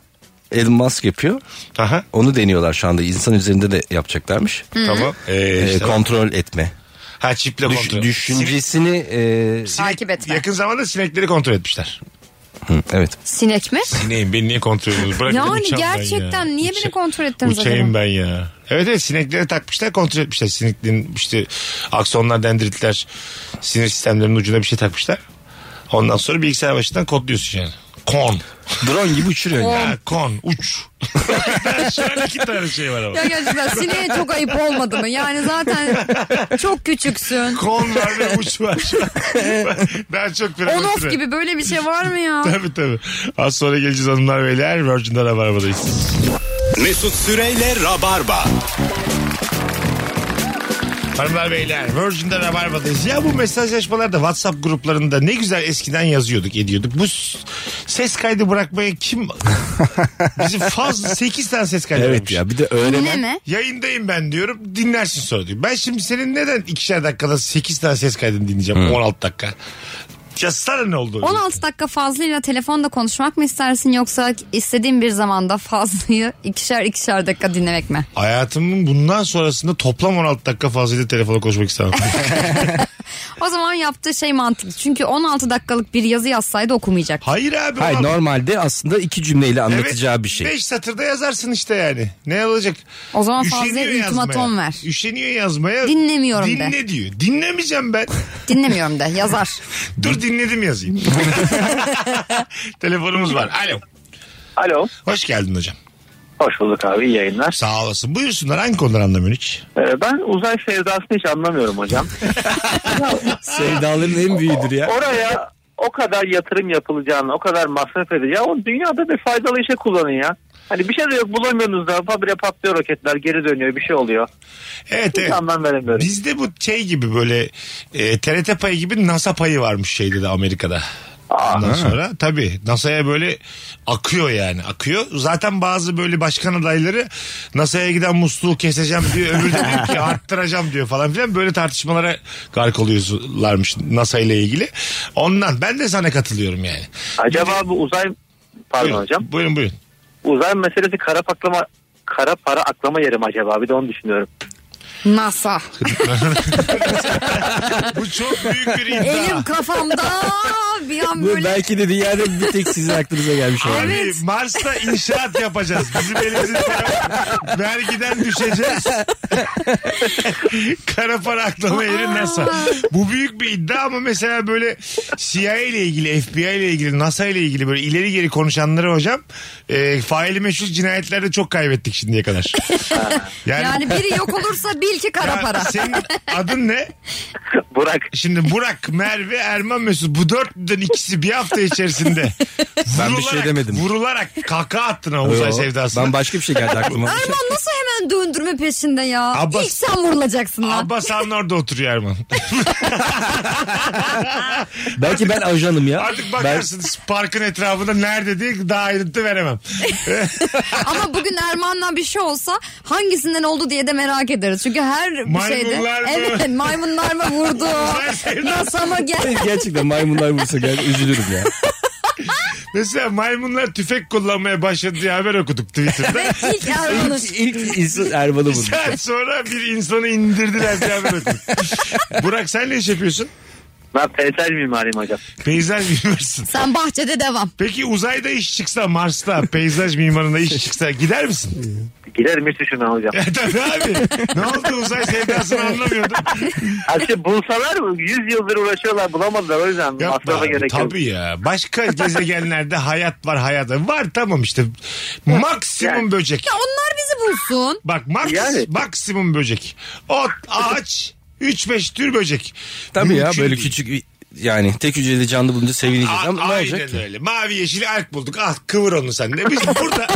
Speaker 2: Elon Musk yapıyor.
Speaker 1: Aha.
Speaker 2: Onu deniyorlar şu anda. İnsan üzerinde de yapacaklarmış.
Speaker 1: Tamam. Ee,
Speaker 2: Ee,
Speaker 1: işte.
Speaker 2: kontrol etme.
Speaker 1: ha çiple
Speaker 2: Düş-
Speaker 1: kontrol. Sinek-
Speaker 2: düşüncesini e,
Speaker 3: Takip etme.
Speaker 1: Yakın zamanda sinekleri kontrol etmişler.
Speaker 2: hı, evet.
Speaker 3: Sinek mi?
Speaker 1: Sineğim beni niye kontrol ediyorsunuz? Bırakın
Speaker 3: Yani
Speaker 1: uçağım ben
Speaker 3: gerçekten
Speaker 1: ya.
Speaker 3: niye beni
Speaker 1: Uça-
Speaker 3: kontrol ettiniz
Speaker 1: Uçayım
Speaker 3: acaba?
Speaker 1: ben ya. Evet evet sinekleri takmışlar kontrol etmişler. Sineklerin işte aksonlar dendritler sinir sistemlerinin ucuna bir şey takmışlar. Ondan sonra bilgisayar başından kodluyorsun yani. Kon.
Speaker 2: Drone gibi uçuruyor. yani.
Speaker 1: Ha, kon. Uç. Şu an iki tane şey var ama.
Speaker 3: Ya gerçekten sineğe çok ayıp olmadı mı? Yani zaten çok küçüksün.
Speaker 1: Kon var ve uç var şu an. ben çok
Speaker 3: On off
Speaker 1: piramidre.
Speaker 3: gibi böyle bir şey var mı ya?
Speaker 1: Tabii tabii. Az sonra geleceğiz hanımlar beyler. Virgin'de Rabarba'dayız.
Speaker 6: Mesut Süreyle Rabarba.
Speaker 1: Hanımlar beyler Virgin'de Rabarba'dayız. Ya bu mesajlaşmalarda WhatsApp gruplarında ne güzel eskiden yazıyorduk ediyorduk. Bu s- ses kaydı bırakmaya kim... Bizim fazla 8 tane ses kaydı
Speaker 2: Evet
Speaker 1: bırakmış.
Speaker 2: ya bir de
Speaker 3: Yine
Speaker 2: öğrenen.
Speaker 3: mi?
Speaker 1: Yayındayım ben diyorum dinlersin sonra diyor. Ben şimdi senin neden ikişer dakikada 8 tane ses kaydını dinleyeceğim 16 dakika. Yazsana ne oldu?
Speaker 3: 16 dakika fazlıyla telefonda konuşmak mı istersin yoksa istediğin bir zamanda fazlıyı ikişer ikişer dakika dinlemek mi?
Speaker 1: Hayatımın bundan sonrasında toplam 16 dakika fazlayla telefona konuşmak istemem.
Speaker 3: O zaman yaptığı şey mantıklı. Çünkü 16 dakikalık bir yazı yazsaydı okumayacak.
Speaker 1: Hayır abi.
Speaker 2: Hayır normalde aslında iki cümleyle anlatacağı bir şey.
Speaker 1: 5 satırda yazarsın işte yani. Ne olacak?
Speaker 3: O zaman
Speaker 1: Üşeniyor
Speaker 3: fazla
Speaker 1: yazmaya.
Speaker 3: ultimatom ver.
Speaker 1: Üşeniyor yazmaya.
Speaker 3: Dinlemiyorum de.
Speaker 1: Dinle diyor. Dinlemeyeceğim ben.
Speaker 3: Dinlemiyorum de yazar.
Speaker 1: Dur dinledim yazayım. Telefonumuz var. Alo.
Speaker 7: Alo.
Speaker 1: Hoş geldin hocam.
Speaker 7: Hoş bulduk abi iyi yayınlar.
Speaker 1: Sağ olasın. Buyursunlar hangi konuları anlamıyorsun hiç?
Speaker 7: Ee, ben uzay sevdasını hiç anlamıyorum hocam.
Speaker 2: Sevdaların en büyüğüdür ya.
Speaker 7: Oraya o kadar yatırım yapılacağını, o kadar masraf edeceğini, o dünyada bir faydalı işe kullanın ya. Hani bir şey de yok bulamıyorsunuz da fabre patlıyor roketler geri dönüyor bir şey oluyor.
Speaker 1: Evet
Speaker 7: Hiç
Speaker 1: evet.
Speaker 7: anlam veremiyorum.
Speaker 1: Bizde bu şey gibi böyle e, TRT payı gibi NASA payı varmış şeyde de Amerika'da. Ondan sonra tabii NASA'ya böyle akıyor yani akıyor. Zaten bazı böyle başkan adayları NASA'ya giden musluğu keseceğim diyor. Öbürü de diyor ki arttıracağım diyor falan filan. Böyle tartışmalara gark oluyorlarmış NASA ile ilgili. Ondan ben de sana katılıyorum yani.
Speaker 7: Acaba bu uzay pardon
Speaker 1: Buyurun,
Speaker 7: hocam
Speaker 1: Buyurun buyurun.
Speaker 7: uzay meselesi kara patlama kara para aklama yeri mi acaba? Bir de onu düşünüyorum.
Speaker 3: NASA.
Speaker 1: Bu çok büyük bir iddia.
Speaker 3: Elim kafamda bir an
Speaker 2: Bu
Speaker 3: böyle
Speaker 2: belki de dünyada bir tek sizin aklınıza gelmiş olan.
Speaker 1: Abi
Speaker 3: Evet.
Speaker 1: Mars'ta inşaat yapacağız. Bizim elimizde vergiden düşeceğiz. Kara para aklama yeri NASA. Bu büyük bir iddia ama mesela böyle CIA ile ilgili, FBI ile ilgili, NASA ile ilgili böyle ileri geri konuşanları hocam e, faili meşhur cinayetlerde çok kaybettik şimdiye kadar. Yani,
Speaker 3: yani biri yok olursa Ama bil ki kara
Speaker 1: Ya şey-
Speaker 3: para.
Speaker 1: Senin adın ne?
Speaker 7: Burak
Speaker 1: Şimdi Burak, Merve, Erman Mesut bu dörtlüden ikisi bir hafta içerisinde
Speaker 2: Ben bir şey demedim.
Speaker 1: Vurularak kaka attın o uzay
Speaker 2: Yo,
Speaker 1: sevdasına.
Speaker 2: Ben başka bir şey geldi aklıma.
Speaker 3: Erman nasıl hemen döndürme peşinde ya?
Speaker 1: Abbas-
Speaker 3: İlk sen vurulacaksın lan.
Speaker 1: Abbas Han orada oturuyor Erman.
Speaker 2: Belki ben ajanım ya.
Speaker 1: Artık
Speaker 2: ben,
Speaker 1: bakarsınız parkın etrafında nerede diye daha ayrıntı veremem.
Speaker 3: Ama bugün Erman'la bir şey olsa hangisinden oldu diye de merak ederiz. Çünkü her
Speaker 1: Maymunlar
Speaker 3: şeyde...
Speaker 1: mı?
Speaker 3: Evet maymunlar mı vurdu? NASA mı gel?
Speaker 2: gerçekten maymunlar vursa gel üzülürüm ya.
Speaker 1: Mesela maymunlar tüfek kullanmaya başladı diye haber okuduk Twitter'da.
Speaker 3: İlk Erman'ın.
Speaker 2: İlk, ilk insan Erman'ı
Speaker 1: Bir
Speaker 2: vurmuş.
Speaker 1: saat sonra bir insanı indirdiler diye haber okuduk. Burak sen ne iş yapıyorsun?
Speaker 7: ben PSL mimariyim hocam.
Speaker 1: Peyzaj mimarsın.
Speaker 3: Sen bahçede devam.
Speaker 1: Peki uzayda iş çıksa Mars'ta peyzaj mimarına iş çıksa gider misin?
Speaker 7: Giderim hiç düşünmem hocam.
Speaker 1: E tabii abi. Ne oldu uzay sevdasını anlamıyordum.
Speaker 7: Aslında bulsalar 100 yıldır uğraşıyorlar bulamadılar o yüzden
Speaker 1: Yapma
Speaker 7: masrafa
Speaker 1: abi,
Speaker 7: gerek yok.
Speaker 1: Tabii ya. Başka gezegenlerde hayat var hayat. Var tamam işte. Maksimum
Speaker 7: Yani.
Speaker 1: böcek.
Speaker 3: Ya onlar bizi bulsun.
Speaker 1: Bak maks,
Speaker 7: Yani.
Speaker 1: maksimum böcek. Ot, ağaç, 3-5 tür böcek.
Speaker 2: Tabii ya
Speaker 1: Mümkün
Speaker 2: böyle
Speaker 1: değil.
Speaker 2: küçük bir- yani tek hücreli canlı bulunca sevineceğiz
Speaker 1: A-
Speaker 2: ama ne
Speaker 1: aynen
Speaker 2: olacak ki?
Speaker 1: öyle. Mavi yeşil ark bulduk. Ah kıvır onu sen de. Biz burada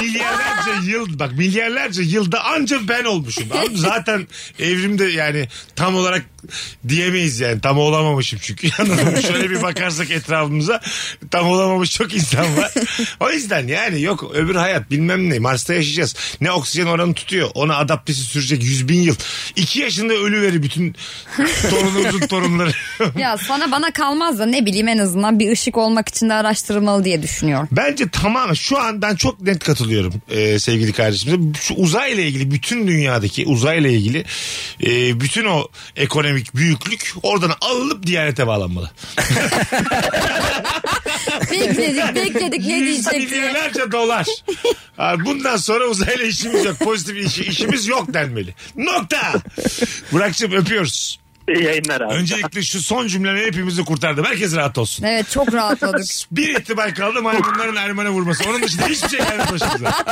Speaker 1: milyarlarca yıl bak milyarlarca yılda anca ben olmuşum. Abi zaten evrimde yani tam olarak diyemeyiz yani. Tam olamamışım çünkü. Anladın mı? Şöyle bir bakarsak etrafımıza tam olamamış çok insan var. O yüzden yani yok öbür hayat bilmem ne. Mars'ta yaşayacağız. Ne oksijen oranı tutuyor. Ona adaptesi sürecek yüz bin yıl. İki yaşında ölü veri bütün torunumuzun torunları.
Speaker 3: Ya sana bana kalmaz da ne bileyim en azından bir ışık olmak için de araştırılmalı diye düşünüyorum.
Speaker 1: Bence tamamen şu an ben çok net katılıyorum e, sevgili kardeşimize. Şu uzayla ilgili bütün dünyadaki uzayla ilgili e, bütün o ekonomik büyüklük oradan alınıp Diyanet'e bağlanmalı.
Speaker 3: Bekledik bekledik ne
Speaker 1: Yüz
Speaker 3: diyecek diye.
Speaker 1: milyarlarca dolar. Abi Bundan sonra uzayla işimiz yok. Pozitif işi, işimiz yok denmeli. Nokta. Burak'cığım öpüyoruz.
Speaker 7: İyi yayınlar abi.
Speaker 1: Öncelikle şu son cümlemi hepimizi kurtardı. Herkes rahat olsun.
Speaker 3: Evet çok rahatladık.
Speaker 1: Bir ihtimal kaldı maymunların Ermen'e vurması. Onun dışında hiçbir şey gelmedi başımıza.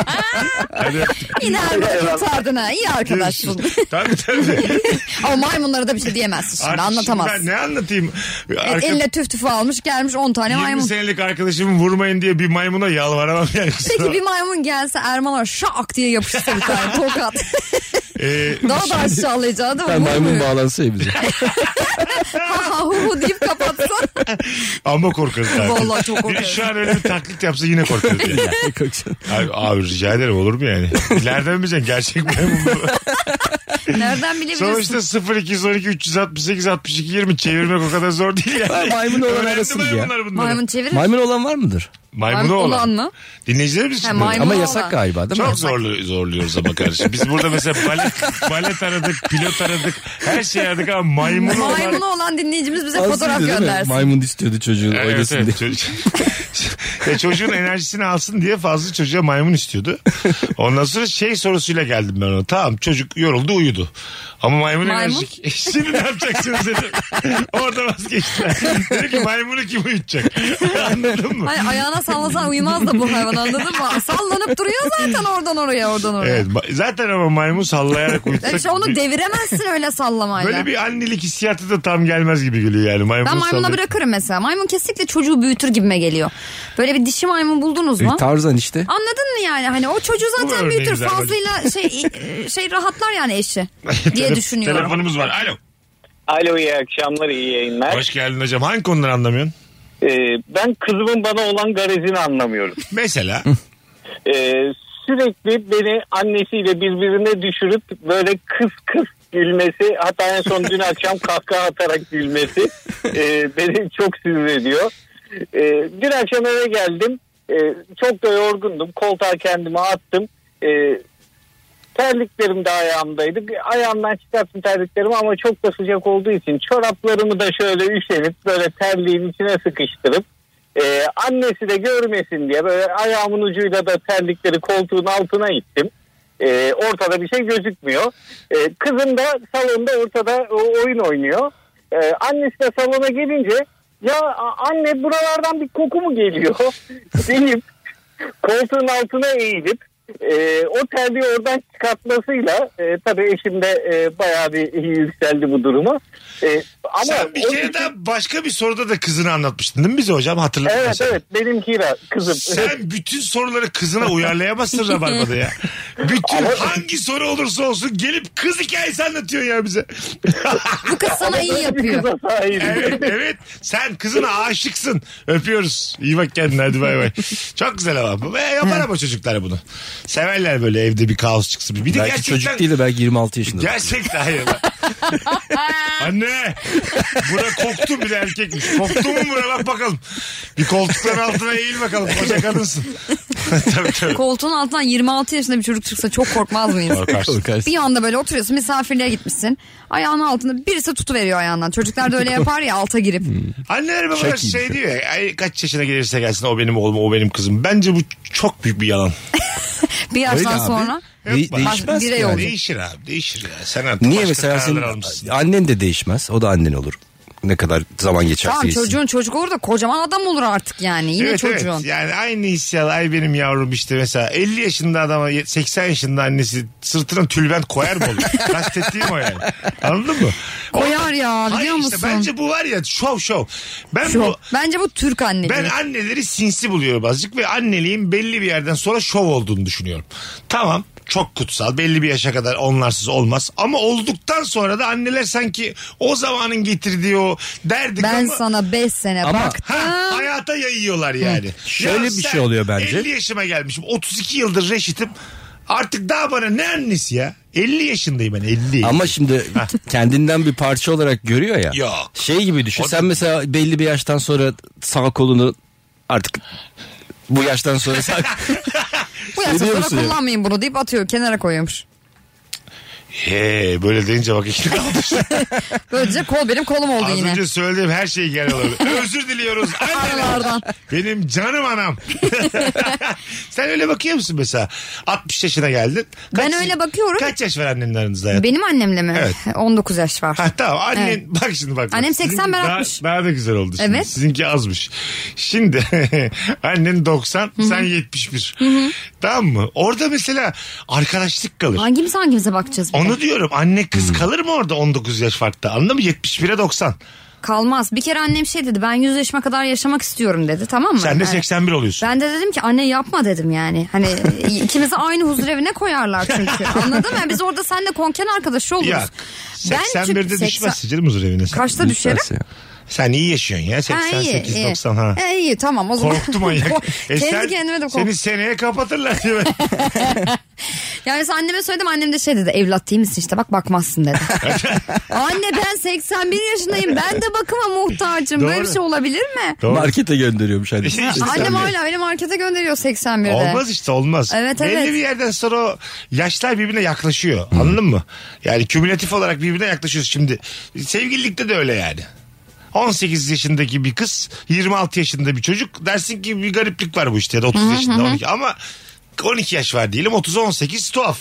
Speaker 1: Hadi öptük.
Speaker 3: Yine Erman'ı kurtardın ha. İyi arkadaşsın.
Speaker 1: Görüşürüz. Tabii tabii.
Speaker 3: Ama maymunlara da bir şey diyemezsin şimdi
Speaker 1: Artık
Speaker 3: anlatamaz.
Speaker 1: şimdi Ben ne anlatayım? Arka,
Speaker 3: Eline tüf tüfü almış gelmiş 10 tane
Speaker 1: 20
Speaker 3: maymun.
Speaker 1: senelik arkadaşımı vurmayın diye bir maymuna yalvaramam yani.
Speaker 3: Peki bir maymun gelse Erman'a şak diye yapışsa bir tane tokat.
Speaker 1: Ee,
Speaker 3: Daha da aşağılayacağı değil mi?
Speaker 2: Ben maymun
Speaker 3: Vurmuyor.
Speaker 2: bağlansa ya bize.
Speaker 3: Ha ha hu hu deyip kapatsa.
Speaker 1: ama korkarız abi.
Speaker 3: Vallahi çok
Speaker 1: Biri
Speaker 3: korkarım.
Speaker 1: şu an öyle bir taklit yapsa yine korkarız. yani. abi, abi rica ederim olur mu yani? Nereden bileceksin gerçek maymun bu?
Speaker 3: Nereden bilebilirsin?
Speaker 1: Sonuçta 0212 368 62 20 çevirmek o kadar zor değil yani.
Speaker 2: Maymun olan
Speaker 1: Öğrendi
Speaker 2: arasıdır ya.
Speaker 1: maymunlar bunları.
Speaker 3: Maymun çevirir.
Speaker 2: Maymun olan var mıdır?
Speaker 1: Maymunu
Speaker 3: Maymun
Speaker 1: olan.
Speaker 3: olan mı?
Speaker 1: Dinleyicilerimiz için
Speaker 3: Ha,
Speaker 1: böyle.
Speaker 3: maymun
Speaker 2: Ama
Speaker 3: olan.
Speaker 2: yasak galiba değil mi?
Speaker 1: Çok zorlu, zorluyoruz ama kardeşim. Biz burada mesela balet, balet aradık, pilot aradık, her şey aradık ama maymun olan...
Speaker 3: Maymunu olan dinleyicimiz bize
Speaker 2: Az
Speaker 3: fotoğraf
Speaker 2: değil mi?
Speaker 3: göndersin.
Speaker 2: Maymun istiyordu çocuğun
Speaker 1: Evet,
Speaker 2: oynasın
Speaker 1: evet.
Speaker 2: diye.
Speaker 1: Çocuk- Ya çocuğun enerjisini alsın diye fazla çocuğa maymun istiyordu. Ondan sonra şey sorusuyla geldim ben ona. Tamam çocuk yoruldu uyudu. Ama maymun,
Speaker 3: Maymun?
Speaker 1: enerjik. E, Şimdi ne yapacaksınız dedim. Orada vazgeçtiler. Dedim ki maymunu kim uyutacak? Anladın mı?
Speaker 3: Hayır, ayağına sallasan uyumaz da bu hayvan anladın mı? Sallanıp duruyor zaten oradan oraya oradan oraya.
Speaker 1: Evet, ma- zaten ama maymun sallayarak
Speaker 3: Ya
Speaker 1: uyutsak.
Speaker 3: işte onu deviremezsin öyle sallamayla.
Speaker 1: Böyle bir annelik hissiyatı da tam gelmez gibi geliyor yani. Maymun
Speaker 3: Ben maymuna
Speaker 1: sallayıp-
Speaker 3: bırakırım mesela. Maymun kesinlikle çocuğu büyütür gibime geliyor. Böyle bir dişi maymun buldunuz mu?
Speaker 2: Tarzan işte.
Speaker 3: Anladın mı yani? Hani o çocuğu zaten
Speaker 1: örneği
Speaker 3: büyütür.
Speaker 1: güzel bence.
Speaker 3: Fazlıyla şey şey rahatlar yani eşi diye
Speaker 1: Tele-
Speaker 3: düşünüyorum.
Speaker 1: Telefonumuz var. Alo.
Speaker 8: Alo iyi akşamlar iyi yayınlar.
Speaker 1: Hoş geldin hocam. Hangi konuları anlamıyorsun?
Speaker 8: Ee, ben kızımın bana olan garezini anlamıyorum.
Speaker 1: Mesela.
Speaker 8: Ee, sürekli beni annesiyle birbirine düşürüp böyle kıs kıs gülmesi hatta en son dün akşam kahkaha atarak gülmesi ee, beni çok sinir ediyor. Ee, dün akşam eve geldim Ee, çok da yorgundum koltuğa kendimi attım. Ee, terliklerim de ayağımdaydı. Ayağımdan çıkarttım terliklerimi ama çok da sıcak olduğu için çoraplarımı da şöyle üşenip böyle terliğin içine sıkıştırıp e, annesi de görmesin diye böyle ayağımın ucuyla da terlikleri koltuğun altına ittim. E, ortada bir şey gözükmüyor. E, kızım da salonda ortada o- oyun oynuyor. E, annesi de salona gelince ya a- anne buralardan bir koku mu geliyor deyip koltuğun altına eğilip E, o terliği oradan çıkartmasıyla e, tabii eşim de e, bayağı bir yükseldi bu duruma. E, ama
Speaker 1: Sen bir
Speaker 8: o-
Speaker 1: kere daha başka bir soruda da kızını anlatmıştın değil mi bize hocam? Hatırladım. ben
Speaker 8: Evet
Speaker 1: seni.
Speaker 8: evet benimki de kızım.
Speaker 1: Sen bütün soruları kızına uyarlayamazsın Rabarba'da ya. Bütün hangi soru olursa olsun gelip kız hikayesi anlatıyor ya bize.
Speaker 3: Bu kız sana iyi yapıyor.
Speaker 8: Kıza sahibim.
Speaker 1: evet evet sen kızına aşıksın. Öpüyoruz. İyi bak kendine hadi bay bay. Çok güzel ama. Ve yapar ama çocuklar bunu. Severler böyle evde bir kaos çıksın. Bir de
Speaker 2: Belki
Speaker 1: gerçekten...
Speaker 2: çocuk değil de belki 26 yaşında.
Speaker 1: Gerçekten hayır. Anne bura koktu bile erkekmiş. Koktu mu bura bak bakalım. Bir koltukların altına eğil bakalım. Koca kadınsın. tabii tabii.
Speaker 3: Koltuğun altından 26 yaşında bir çocuk çıksa çok korkmaz mıyız?
Speaker 1: Korkarsın.
Speaker 2: Korkarsın.
Speaker 3: bir anda böyle oturuyorsun misafirliğe gitmişsin. Ayağının altında birisi tutuveriyor ayağından. Çocuklar da öyle yapar ya alta girip.
Speaker 1: Hmm. Anneler babalar
Speaker 2: Şak iyi
Speaker 1: şey diyor ya, Ay, kaç yaşına gelirse gelsin o benim oğlum o benim kızım. Bence bu çok büyük bir yalan.
Speaker 3: Bir
Speaker 2: Öyle
Speaker 3: yaştan
Speaker 2: abi.
Speaker 3: sonra.
Speaker 2: De-
Speaker 1: Bak,
Speaker 2: değişmez
Speaker 3: birey
Speaker 2: ki yani.
Speaker 3: olacak.
Speaker 1: Değişir abi değişir ya. Sen artık
Speaker 2: Niye
Speaker 1: başka
Speaker 2: mesela
Speaker 1: kararlar
Speaker 2: senin
Speaker 1: almışsın.
Speaker 2: annen de değişmez. O da annen olur. Ne kadar zaman geçerse
Speaker 3: Tamam
Speaker 2: geçsin.
Speaker 3: çocuğun çocuk olur da kocaman adam olur artık yani. Yine
Speaker 1: Evet, evet.
Speaker 3: çocuğun.
Speaker 1: Yani aynı hissiyat ay benim yavrum işte mesela 50 yaşında adama ye- 80 yaşında annesi sırtına tülbent koyar mı olur? Kastettiğim o yani. Anladın mı?
Speaker 3: Koyar ya biliyor
Speaker 1: Hayır
Speaker 3: musun?
Speaker 1: işte bence bu var ya şov şov. Ben
Speaker 3: Şu-
Speaker 1: bu
Speaker 3: Bence bu Türk anneliği.
Speaker 1: ben anneleri sinsi buluyorum azıcık ve anneliğin belli bir yerden sonra şov olduğunu düşünüyorum. Tamam çok kutsal belli bir yaşa kadar onlarsız olmaz ama olduktan sonra da anneler sanki o zamanın getirdiği o derdik
Speaker 3: Ben
Speaker 1: ama
Speaker 3: sana 5 sene
Speaker 2: Ama-
Speaker 3: baktım.
Speaker 1: Ha, hayata yayıyorlar yani.
Speaker 2: Şöyle bir
Speaker 1: sen
Speaker 2: şey oluyor bence.
Speaker 1: 50 yaşıma gelmişim. 32 yıldır reşitim. Artık daha bana ne annesi ya? 50 yaşındayım ben 50.
Speaker 2: Ama şimdi kendinden bir parça olarak görüyor ya.
Speaker 1: Yok.
Speaker 2: Şey gibi düşün.
Speaker 1: O-
Speaker 2: Sen mesela belli bir yaştan sonra sağ kolunu artık bu yaştan sonra sağ
Speaker 3: Bu yaşta
Speaker 2: Seviyor
Speaker 3: sonra
Speaker 2: musun ya?
Speaker 3: kullanmayın bunu deyip atıyor kenara koyuyormuş.
Speaker 1: He böyle deyince bak ikili kaldı.
Speaker 3: Böylece kol benim kolum oldu
Speaker 1: Az
Speaker 3: yine.
Speaker 1: önce söylediğim her şey genel olarak. Özür diliyoruz. Anneler.
Speaker 3: Aralardan.
Speaker 1: Benim canım anam. Sen öyle bakıyor musun mesela? 60 yaşına geldin.
Speaker 3: Ben öyle bakıyorum.
Speaker 1: Kaç yaş var annenin aranızda hayatım?
Speaker 3: Benim annemle mi?
Speaker 1: Evet.
Speaker 3: 19 yaş var.
Speaker 1: Ha tamam annen
Speaker 3: Evet.
Speaker 1: bak şimdi bak.
Speaker 3: Annem 80, ben
Speaker 1: Sizinki
Speaker 3: 60.
Speaker 1: Daha, daha da güzel oldu şimdi.
Speaker 3: Evet.
Speaker 1: Sizinki azmış. Şimdi annen 90 sen 71. tamam mı? Orada mesela arkadaşlık kalır.
Speaker 3: Hangimiz hangimize bakacağız? bir de?
Speaker 1: Onu diyorum anne kız kalır mı orada 19 yaş farkta anladın mı? 71'e 90.
Speaker 3: Kalmaz. Bir kere annem şey dedi ben 100 yaşıma kadar yaşamak istiyorum dedi tamam mı?
Speaker 1: Sen de
Speaker 3: Yani
Speaker 1: 81 oluyorsun.
Speaker 3: Ben de dedim ki anne yapma dedim yani. Hani ikimizi aynı huzurevine koyarlar çünkü. Anladın mı? Biz orada seninle konken arkadaşı oluruz.
Speaker 1: Ya
Speaker 3: Ben çünkü
Speaker 1: 81'de
Speaker 3: 80
Speaker 1: düşmezsin canım huzur evine sen.
Speaker 3: Kaçta düşerim?
Speaker 1: Sen iyi yaşıyorsun ya
Speaker 3: Ha,
Speaker 1: 88
Speaker 3: iyi, iyi.
Speaker 1: 90 ha.
Speaker 3: E, iyi tamam o zaman.
Speaker 1: Korktum manyak. E
Speaker 3: Kendi
Speaker 1: sen-
Speaker 3: kendime de korktum.
Speaker 1: Seni seneye kapatırlar diye ben.
Speaker 3: Yani mesela anneme söyledim annem de şey dedi evlat değil misin işte bak bakmazsın dedi. Anne ben 81 yaşındayım ben de bakıma muhtacım böyle
Speaker 1: Doğru.
Speaker 3: bir şey olabilir mi?
Speaker 1: Doğru.
Speaker 2: markete gönderiyormuş hani. anne.
Speaker 1: İşte
Speaker 3: Annem hala beni markete gönderiyor 81'de.
Speaker 1: Olmaz işte olmaz.
Speaker 3: Evet,
Speaker 1: Belli
Speaker 3: evet.
Speaker 1: bir yerden sonra o yaşlar birbirine yaklaşıyor. Anladın mı? Yani kümülatif olarak birbirine yaklaşıyoruz şimdi. Sevgililikte de öyle yani. 18 yaşındaki bir kız 26 yaşında bir çocuk dersin ki bir gariplik var bu işte ya da 30 yaşında 12 ama 12 yaş var diyelim 30 18 tuhaf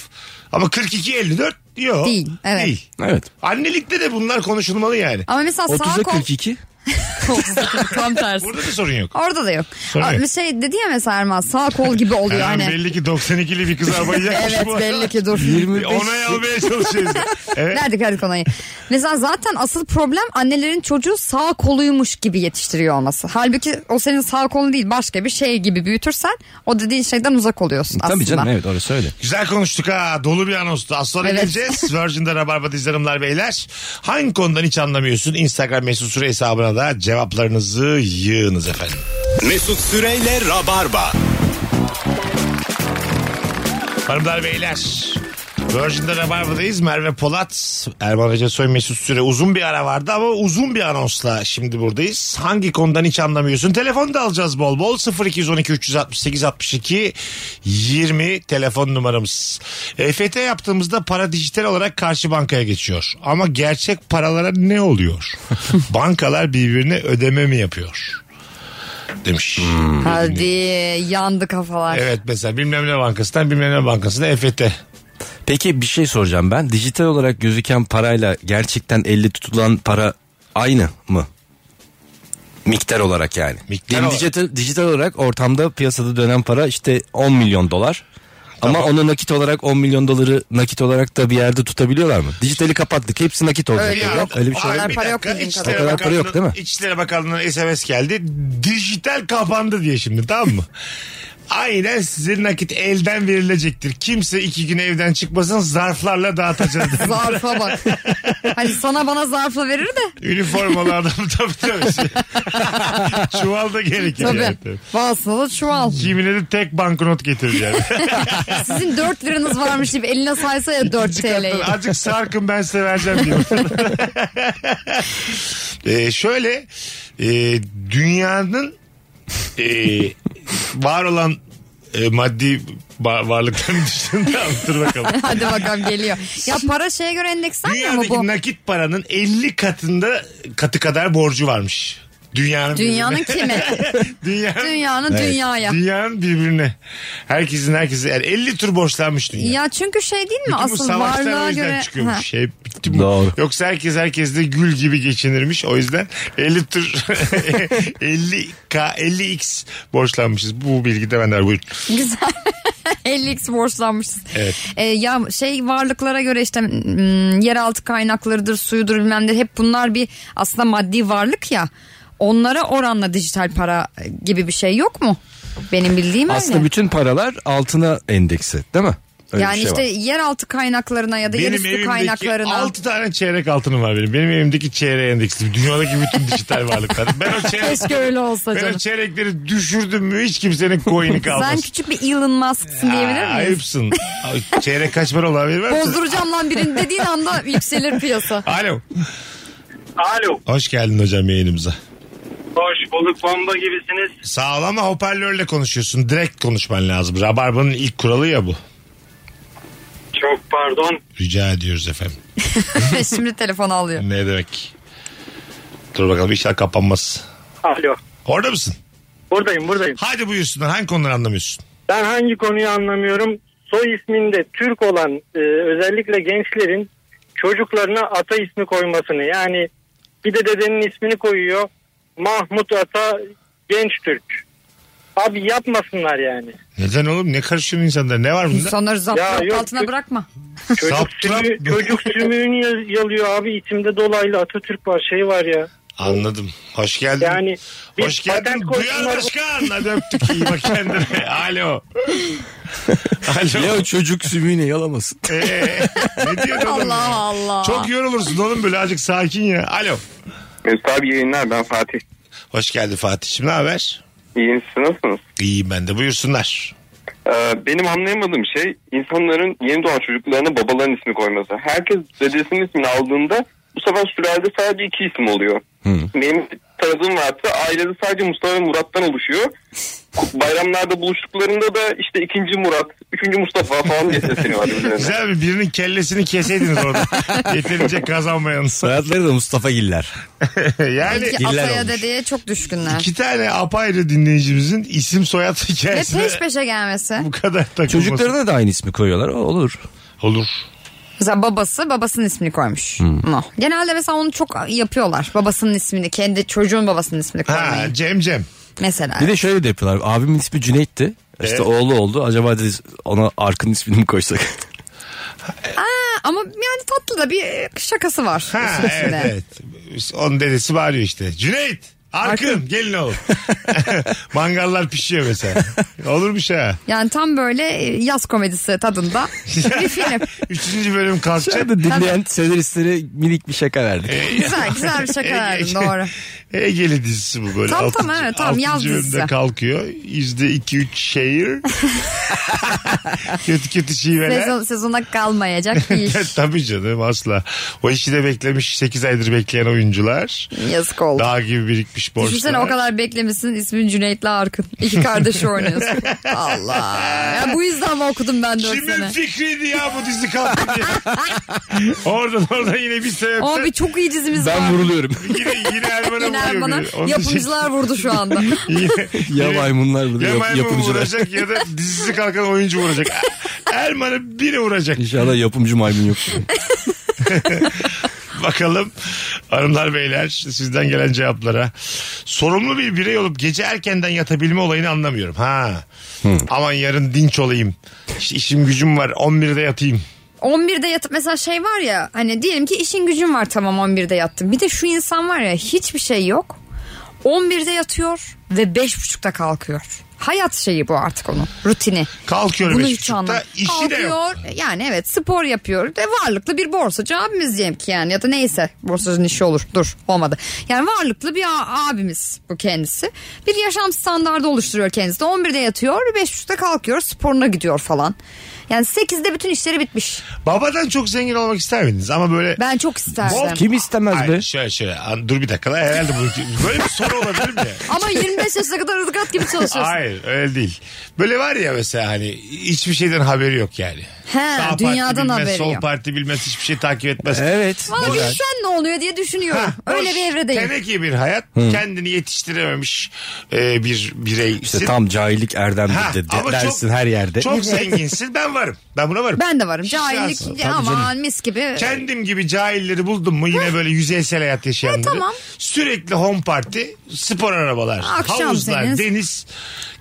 Speaker 1: ama 42 54 yok
Speaker 3: Değil, evet.
Speaker 1: değil.
Speaker 2: Evet.
Speaker 1: Annelikte de bunlar konuşulmalı yani.
Speaker 3: Ama mesela sağ
Speaker 2: 30'a
Speaker 3: kol...
Speaker 2: 42.
Speaker 3: Tam tersi.
Speaker 1: Burada da sorun yok.
Speaker 3: Orada da yok.
Speaker 1: Sonra
Speaker 3: Aa,
Speaker 1: ne?
Speaker 3: bir şey dedi ya mesela Erman sağ kol gibi oluyor
Speaker 1: Yani
Speaker 3: hani.
Speaker 1: belli ki 92'li bir kız arabayı yakmış
Speaker 3: Evet
Speaker 1: bu.
Speaker 3: belli ki dur.
Speaker 2: 25.
Speaker 1: Onay almaya çalışıyoruz. Evet.
Speaker 3: Verdik verdik onayı. Mesela zaten asıl problem annelerin çocuğu sağ koluymuş gibi yetiştiriyor olması. Halbuki o senin sağ kolun değil başka bir şey gibi büyütürsen o dediğin şeyden uzak oluyorsun aslında.
Speaker 2: Tabii canım evet orası öyle.
Speaker 1: Güzel konuştuk ha. Dolu bir anonstu. Az sonra
Speaker 3: Evet.
Speaker 1: geleceğiz. Virgin'de Rabarba'da izlerimler beyler. Hangi konudan hiç anlamıyorsun? Instagram mesut süre hesabına da cevaplarınızı yığınız efendim.
Speaker 6: Mesut Süreyle Rabarba.
Speaker 1: Hanımlar beyler. Virgin'de Rabarba'dayız. Merve Polat, Erman Hoca Soy Mesut Süre uzun bir ara vardı ama uzun bir anonsla şimdi buradayız. Hangi konudan hiç anlamıyorsun? Telefon da alacağız bol bol. 0212 368 62 20 telefon numaramız. EFT yaptığımızda para dijital olarak karşı bankaya geçiyor. Ama gerçek paralara ne oluyor? Bankalar birbirine ödeme mi yapıyor? Demiş.
Speaker 3: Hadi yandı kafalar.
Speaker 1: Evet mesela bilmem ne bankasından bilmem ne bankasına EFT.
Speaker 2: Peki bir şey soracağım ben. Dijital olarak gözüken parayla gerçekten elle tutulan para aynı mı? Miktar olarak yani.
Speaker 1: Miktar
Speaker 2: Benim
Speaker 1: olarak.
Speaker 2: dijital, dijital olarak ortamda piyasada dönen para işte 10 milyon dolar. Ama onu nakit olarak 10 milyon doları nakit olarak da bir yerde tutabiliyorlar mı? Dijitali kapattık. Hepsi nakit olacak.
Speaker 3: Öyle
Speaker 2: dediler.
Speaker 3: yok.
Speaker 2: Öyle bir şey
Speaker 3: Ay,
Speaker 2: yok.
Speaker 3: kadar para yok bildiğin
Speaker 1: İçişleri
Speaker 2: kadar. O kadar para yok değil mi?
Speaker 1: İçişleri Bakanlığı'na SMS geldi. Dijital kapandı diye şimdi tamam mı? Aynen sizin nakit elden verilecektir. Kimse iki gün evden çıkmasın zarflarla dağıtacağız.
Speaker 3: Zarfa bak. hani sana bana zarfla verir de.
Speaker 1: Üniformalı adam tabii tabii. Çuval da gerekir yani.
Speaker 3: Tabii. Bazısına da çuval.
Speaker 1: Kimine de tek banknot getirir yani.
Speaker 3: Sizin 4 liranız varmış gibi eline saysa ya 4 TL'yi.
Speaker 1: Azıcık sarkın ben size vereceğim diyor. Ee, şöyle e, dünyanın e, var olan e, maddi ba- varlıklarını düşündüm. Dur bakalım.
Speaker 3: Hadi bakalım geliyor. Ya para şeye göre endekslenmiyor mu bu?
Speaker 1: Dünyadaki nakit paranın 50 katında katı kadar borcu varmış. Dünyanın
Speaker 3: Dünyanın
Speaker 1: birbirine.
Speaker 3: kime?
Speaker 1: dünyanın,
Speaker 3: Dünyanın dünyaya.
Speaker 1: dünyanın birbirine. Herkesin herkese yani 50 tur borçlanmış dünya.
Speaker 3: Ya çünkü şey değil mi
Speaker 1: Bütün bu
Speaker 3: asıl
Speaker 1: savaşlar o
Speaker 3: varlığa
Speaker 1: yüzden
Speaker 3: göre
Speaker 1: çıkıyormuş.
Speaker 3: Ha.
Speaker 1: Şey, bütün bu-
Speaker 2: Doğru.
Speaker 1: Yoksa herkes herkes de gül gibi geçinirmiş. O yüzden 50 tır 50 k 50 x borçlanmışız. Bu bilgi de benden buyur.
Speaker 3: güzel 50x borçlanmışız.
Speaker 1: Evet.
Speaker 3: Ee, ya şey varlıklara göre işte mm, yeraltı kaynaklarıdır, suyudur bilmem ne hep bunlar bir aslında maddi varlık ya. Onlara oranla dijital para gibi bir şey yok mu? Benim bildiğim
Speaker 2: Aslında
Speaker 3: öyle.
Speaker 2: bütün paralar altına endeksi değil mi? Öyle bir
Speaker 3: yani
Speaker 2: şey
Speaker 3: işte
Speaker 2: var.
Speaker 3: yeraltı kaynaklarına ya da
Speaker 1: Benim
Speaker 3: yerüstü
Speaker 1: evimdeki
Speaker 3: kaynaklarına.
Speaker 1: 6 tane çeyrek altınım var benim. Benim evimdeki çeyreğe endeksli. Dünyadaki bütün dijital varlıklar. Ben o çeyrek
Speaker 3: Keşke öyle olsa
Speaker 1: ben
Speaker 3: canım.
Speaker 1: o çeyrekleri düşürdüm mü hiç kimsenin coin'i kalmaz.
Speaker 3: Sen küçük bir Elon Musk'sın diyebilir
Speaker 1: Aa,
Speaker 3: miyiz?
Speaker 1: Ayıpsın. Ay, Çeyrek kaç para olabilir? var mısın?
Speaker 3: Bozduracağım lan birini dediğin anda yükselir piyasa.
Speaker 1: Alo.
Speaker 8: Alo.
Speaker 1: Hoş geldin hocam yayınımıza.
Speaker 8: Hoş bulduk bomba gibisiniz.
Speaker 1: Sağ ol ama hoparlörle konuşuyorsun. Direkt konuşman lazım. Rabarbanın ilk kuralı ya bu.
Speaker 8: Çok pardon.
Speaker 1: Rica ediyoruz efendim.
Speaker 3: Şimdi telefon alıyor.
Speaker 1: Ne demek? Dur bakalım inşallah kapanmaz.
Speaker 8: Alo.
Speaker 1: Orada mısın?
Speaker 8: Buradayım buradayım.
Speaker 1: Hadi buyursunlar. Hangi konuları anlamıyorsun?
Speaker 8: Ben hangi konuyu anlamıyorum. Soy isminde Türk olan e, özellikle gençlerin çocuklarına ata ismi koymasını. Yani bir de dedenin ismini koyuyor. Mahmut Ata Genç Türk. Abi yapmasınlar yani.
Speaker 1: Neden oğlum? Ne karışıyorsun insanlara? Ne var bunda?
Speaker 3: İnsanları
Speaker 8: Ya
Speaker 3: zaptı
Speaker 8: yok,
Speaker 3: altına
Speaker 8: yok.
Speaker 3: bırakma.
Speaker 8: Çocuk,
Speaker 1: Saptrap
Speaker 8: sümüğü-
Speaker 1: mı?
Speaker 8: çocuk sümüğünü yal- yalıyor abi. içimde dolaylı Atatürk var şey var ya.
Speaker 1: Anladım. Hoş geldin.
Speaker 8: Yani biz
Speaker 1: Hoş geldin.
Speaker 8: patent
Speaker 1: Duyar
Speaker 8: koysunlar-
Speaker 1: başkan. Hadi öptük. İyi bak kendine. Alo. Alo.
Speaker 2: Ya çocuk sümüğüne yalamasın.
Speaker 1: Ee, ne diyorsun oğlum?
Speaker 3: Allah Allah.
Speaker 1: Çok yorulursun oğlum böyle azıcık sakin ya. Alo.
Speaker 4: Mesut abi yayınlar ben Fatih.
Speaker 1: Hoş geldin Fatih'im. Ne haber?
Speaker 4: İyiyim siz nasılsınız?
Speaker 1: İyiyim ben de. Buyursunlar.
Speaker 4: Ee, benim anlayamadığım şey insanların yeni doğan çocuklarına babaların ismi koyması. Herkes dedesinin ismini aldığında bu sefer sülalede sadece iki isim oluyor. Benim tanıdığım varsa ailede sadece Mustafa ve Murat'tan oluşuyor. Bayramlarda buluştuklarında da işte ikinci Murat, üçüncü Mustafa falan diye sesleniyorlar birbirlerine.
Speaker 1: Güzel mi? Birinin kellesini keseydiniz orada. Yeterince kazanmayanız.
Speaker 2: Soyadları da Mustafa Giller.
Speaker 1: yani
Speaker 3: İki
Speaker 2: iller
Speaker 3: ataya
Speaker 2: olmuş.
Speaker 3: dedeye çok düşkünler.
Speaker 1: iki tane apayrı dinleyicimizin isim soyad
Speaker 3: Ve
Speaker 1: hikayesine
Speaker 3: peş peşe gelmesi.
Speaker 1: bu kadar takılması.
Speaker 2: Çocuklarına da aynı ismi koyuyorlar. O olur.
Speaker 1: Olur.
Speaker 3: Mesela babası babasının ismini koymuş.
Speaker 1: Hmm.
Speaker 3: No. Genelde mesela onu çok yapıyorlar. Babasının ismini kendi çocuğun babasının ismini
Speaker 1: Ha
Speaker 3: koymayı.
Speaker 1: Cem Cem.
Speaker 3: Mesela.
Speaker 2: Bir de şöyle de yapıyorlar. Abimin ismi Cüneyt'ti. İşte
Speaker 1: Evet.
Speaker 2: oğlu oldu. Acaba dedi ona Arkın ismini mi koysak?
Speaker 3: Ama yani tatlı da bir e, şakası var.
Speaker 1: Ha
Speaker 3: işin içinde.
Speaker 1: evet evet. Onun dedesi bağırıyor işte. Cüneyt. Arkın, gelin oğlum. Mangallar pişiyor mesela. Olurmuş ha.
Speaker 3: Yani tam böyle e, yaz komedisi tadında bir film.
Speaker 1: Üçüncü bölüm kalkacak.
Speaker 2: Şimdi dinleyen senaristleri minik bir şaka verdik.
Speaker 1: Ee,
Speaker 3: Güzel güzel bir şaka verdin doğru.
Speaker 1: Ege'li dizisi bu böyle.
Speaker 3: Tam, tam,
Speaker 1: Altıncı-
Speaker 3: evet, tam, yaz
Speaker 1: altıncı bölümde
Speaker 3: dizisi.
Speaker 1: kalkıyor. Yüzde iki üç şehir. kötü kötü şiveler.
Speaker 3: Sezon, sezona kalmayacak bir iş.
Speaker 1: Tabii canım asla. O işi de beklemiş 8 aydır bekleyen oyuncular.
Speaker 3: Yazık oldu.
Speaker 1: Dağ gibi birikmiş borçlar.
Speaker 3: Düşünsene o kadar beklemişsin ismin Cüneyt'le Arkın. İki kardeşi oynuyorsun. Allah. Ya bu yüzden mi okudum ben dört
Speaker 1: Kimin
Speaker 3: sene?
Speaker 1: fikriydi ya bu dizi kalktı diye. oradan oradan yine bir
Speaker 3: Ama bir
Speaker 1: sebepten
Speaker 3: çok iyi dizimiz var.
Speaker 2: Ben vuruluyorum.
Speaker 1: yine, yine Erman'a
Speaker 3: Yine
Speaker 1: vuruyor.
Speaker 3: bana
Speaker 1: biri. Onu
Speaker 3: yapımcılar vurdu şu anda.
Speaker 1: diyecek. Yine,
Speaker 2: ya maymunlar bunu
Speaker 1: ya
Speaker 2: yap-
Speaker 1: maymun
Speaker 2: yapımcılar.
Speaker 1: vuracak ya da dizisi kalkan oyuncu vuracak. Erman'a biri vuracak.
Speaker 2: İnşallah yapımcı maymun yok.
Speaker 1: Bakalım Hanımlar beyler sizden gelen cevaplara. Sorumlu bir birey olup gece erkenden yatabilme olayını anlamıyorum. Ha. Aman yarın dinç olayım. İşte işim gücüm var 11'de yatayım.
Speaker 3: 11'de yatıp mesela şey var ya hani diyelim ki işin gücün var tamam 11'de yattım. Bir de şu insan var ya hiçbir şey yok. 11'de yatıyor ve 5.30'da kalkıyor. Hayat şeyi bu artık onun rutini.
Speaker 1: Kalkıyorum
Speaker 3: Bunu
Speaker 1: beş
Speaker 3: hiç
Speaker 1: buçukta,
Speaker 3: anlamıyorum.
Speaker 1: işi de yok.
Speaker 3: Kalkıyor yani evet spor yapıyor. De varlıklı bir borsacı abimiz diyelim ki yani ya da neyse borsacının işi olur dur olmadı. Yani varlıklı bir a- abimiz bu kendisi. Bir yaşam standardı oluşturuyor kendisi. 11'de yatıyor 5.30'da kalkıyor sporuna gidiyor falan. Yani 8'de bütün işleri bitmiş.
Speaker 1: Babadan çok zengin olmak ister miydiniz? Ama böyle...
Speaker 3: Ben çok isterdim.
Speaker 1: Bol
Speaker 2: Kim istemez be?
Speaker 1: Ay, şöyle şöyle An- dur bir dakika lan herhalde bu, böyle bir soru olabilir mi?
Speaker 3: Ama 25 yaşına kadar ızgat gibi çalışıyorsun.
Speaker 1: Hayır öyle değil. Böyle var ya mesela hani hiçbir şeyden haberi yok yani.
Speaker 3: He,
Speaker 1: Sağ parti
Speaker 3: dünyadan
Speaker 1: bilmez,
Speaker 3: haberi
Speaker 1: sol
Speaker 3: yok.
Speaker 1: parti bilmez hiçbir şey takip etmez.
Speaker 2: Evet.
Speaker 3: Valla
Speaker 2: güzel.
Speaker 3: bilsen ne oluyor diye düşünüyorum.
Speaker 1: Ha,
Speaker 3: Öyle
Speaker 1: boş,
Speaker 3: bir evredeyim.
Speaker 1: Teneke bir hayat. Kendini yetiştirememiş e, bir birey.
Speaker 2: İşte tam cahillik erdem
Speaker 1: Ha,
Speaker 2: de, de-
Speaker 1: ama
Speaker 2: dersin
Speaker 1: çok-
Speaker 2: her yerde.
Speaker 1: Çok zenginsin ben varım. Ben buna varım.
Speaker 3: Ben de varım.
Speaker 1: Hiç lazım.
Speaker 3: Cahillik ama mis gibi.
Speaker 1: Kendim gibi cahilleri buldum mu yine böyle yüzeysel hayat yaşayanları.
Speaker 3: Ha, E, tamam.
Speaker 1: Sürekli home parti, spor arabalar,
Speaker 3: Akşam
Speaker 1: havuzlar,
Speaker 3: deniz.
Speaker 1: deniz.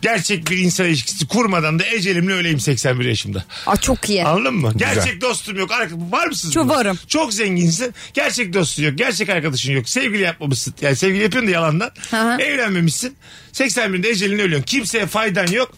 Speaker 1: Gerçek bir insan ilişkisi kurmadan da ecelimle öleyim 81 yaşımda.
Speaker 3: Aa, çok iyi.
Speaker 1: Anladın mı? Gerçek dostum yok. Arka- Var mısınız?
Speaker 3: Ee, Çok
Speaker 1: buna?
Speaker 3: varım.
Speaker 1: Çok zenginsin. Gerçek dostun yok. Gerçek arkadaşın yok. Sevgili yapmamışsın. Yani sevgili yapıyorsun da yalandan.
Speaker 3: Hı hı.
Speaker 1: Evlenmemişsin. 81'de ecelini ölüyorsun. Kimseye faydan yok.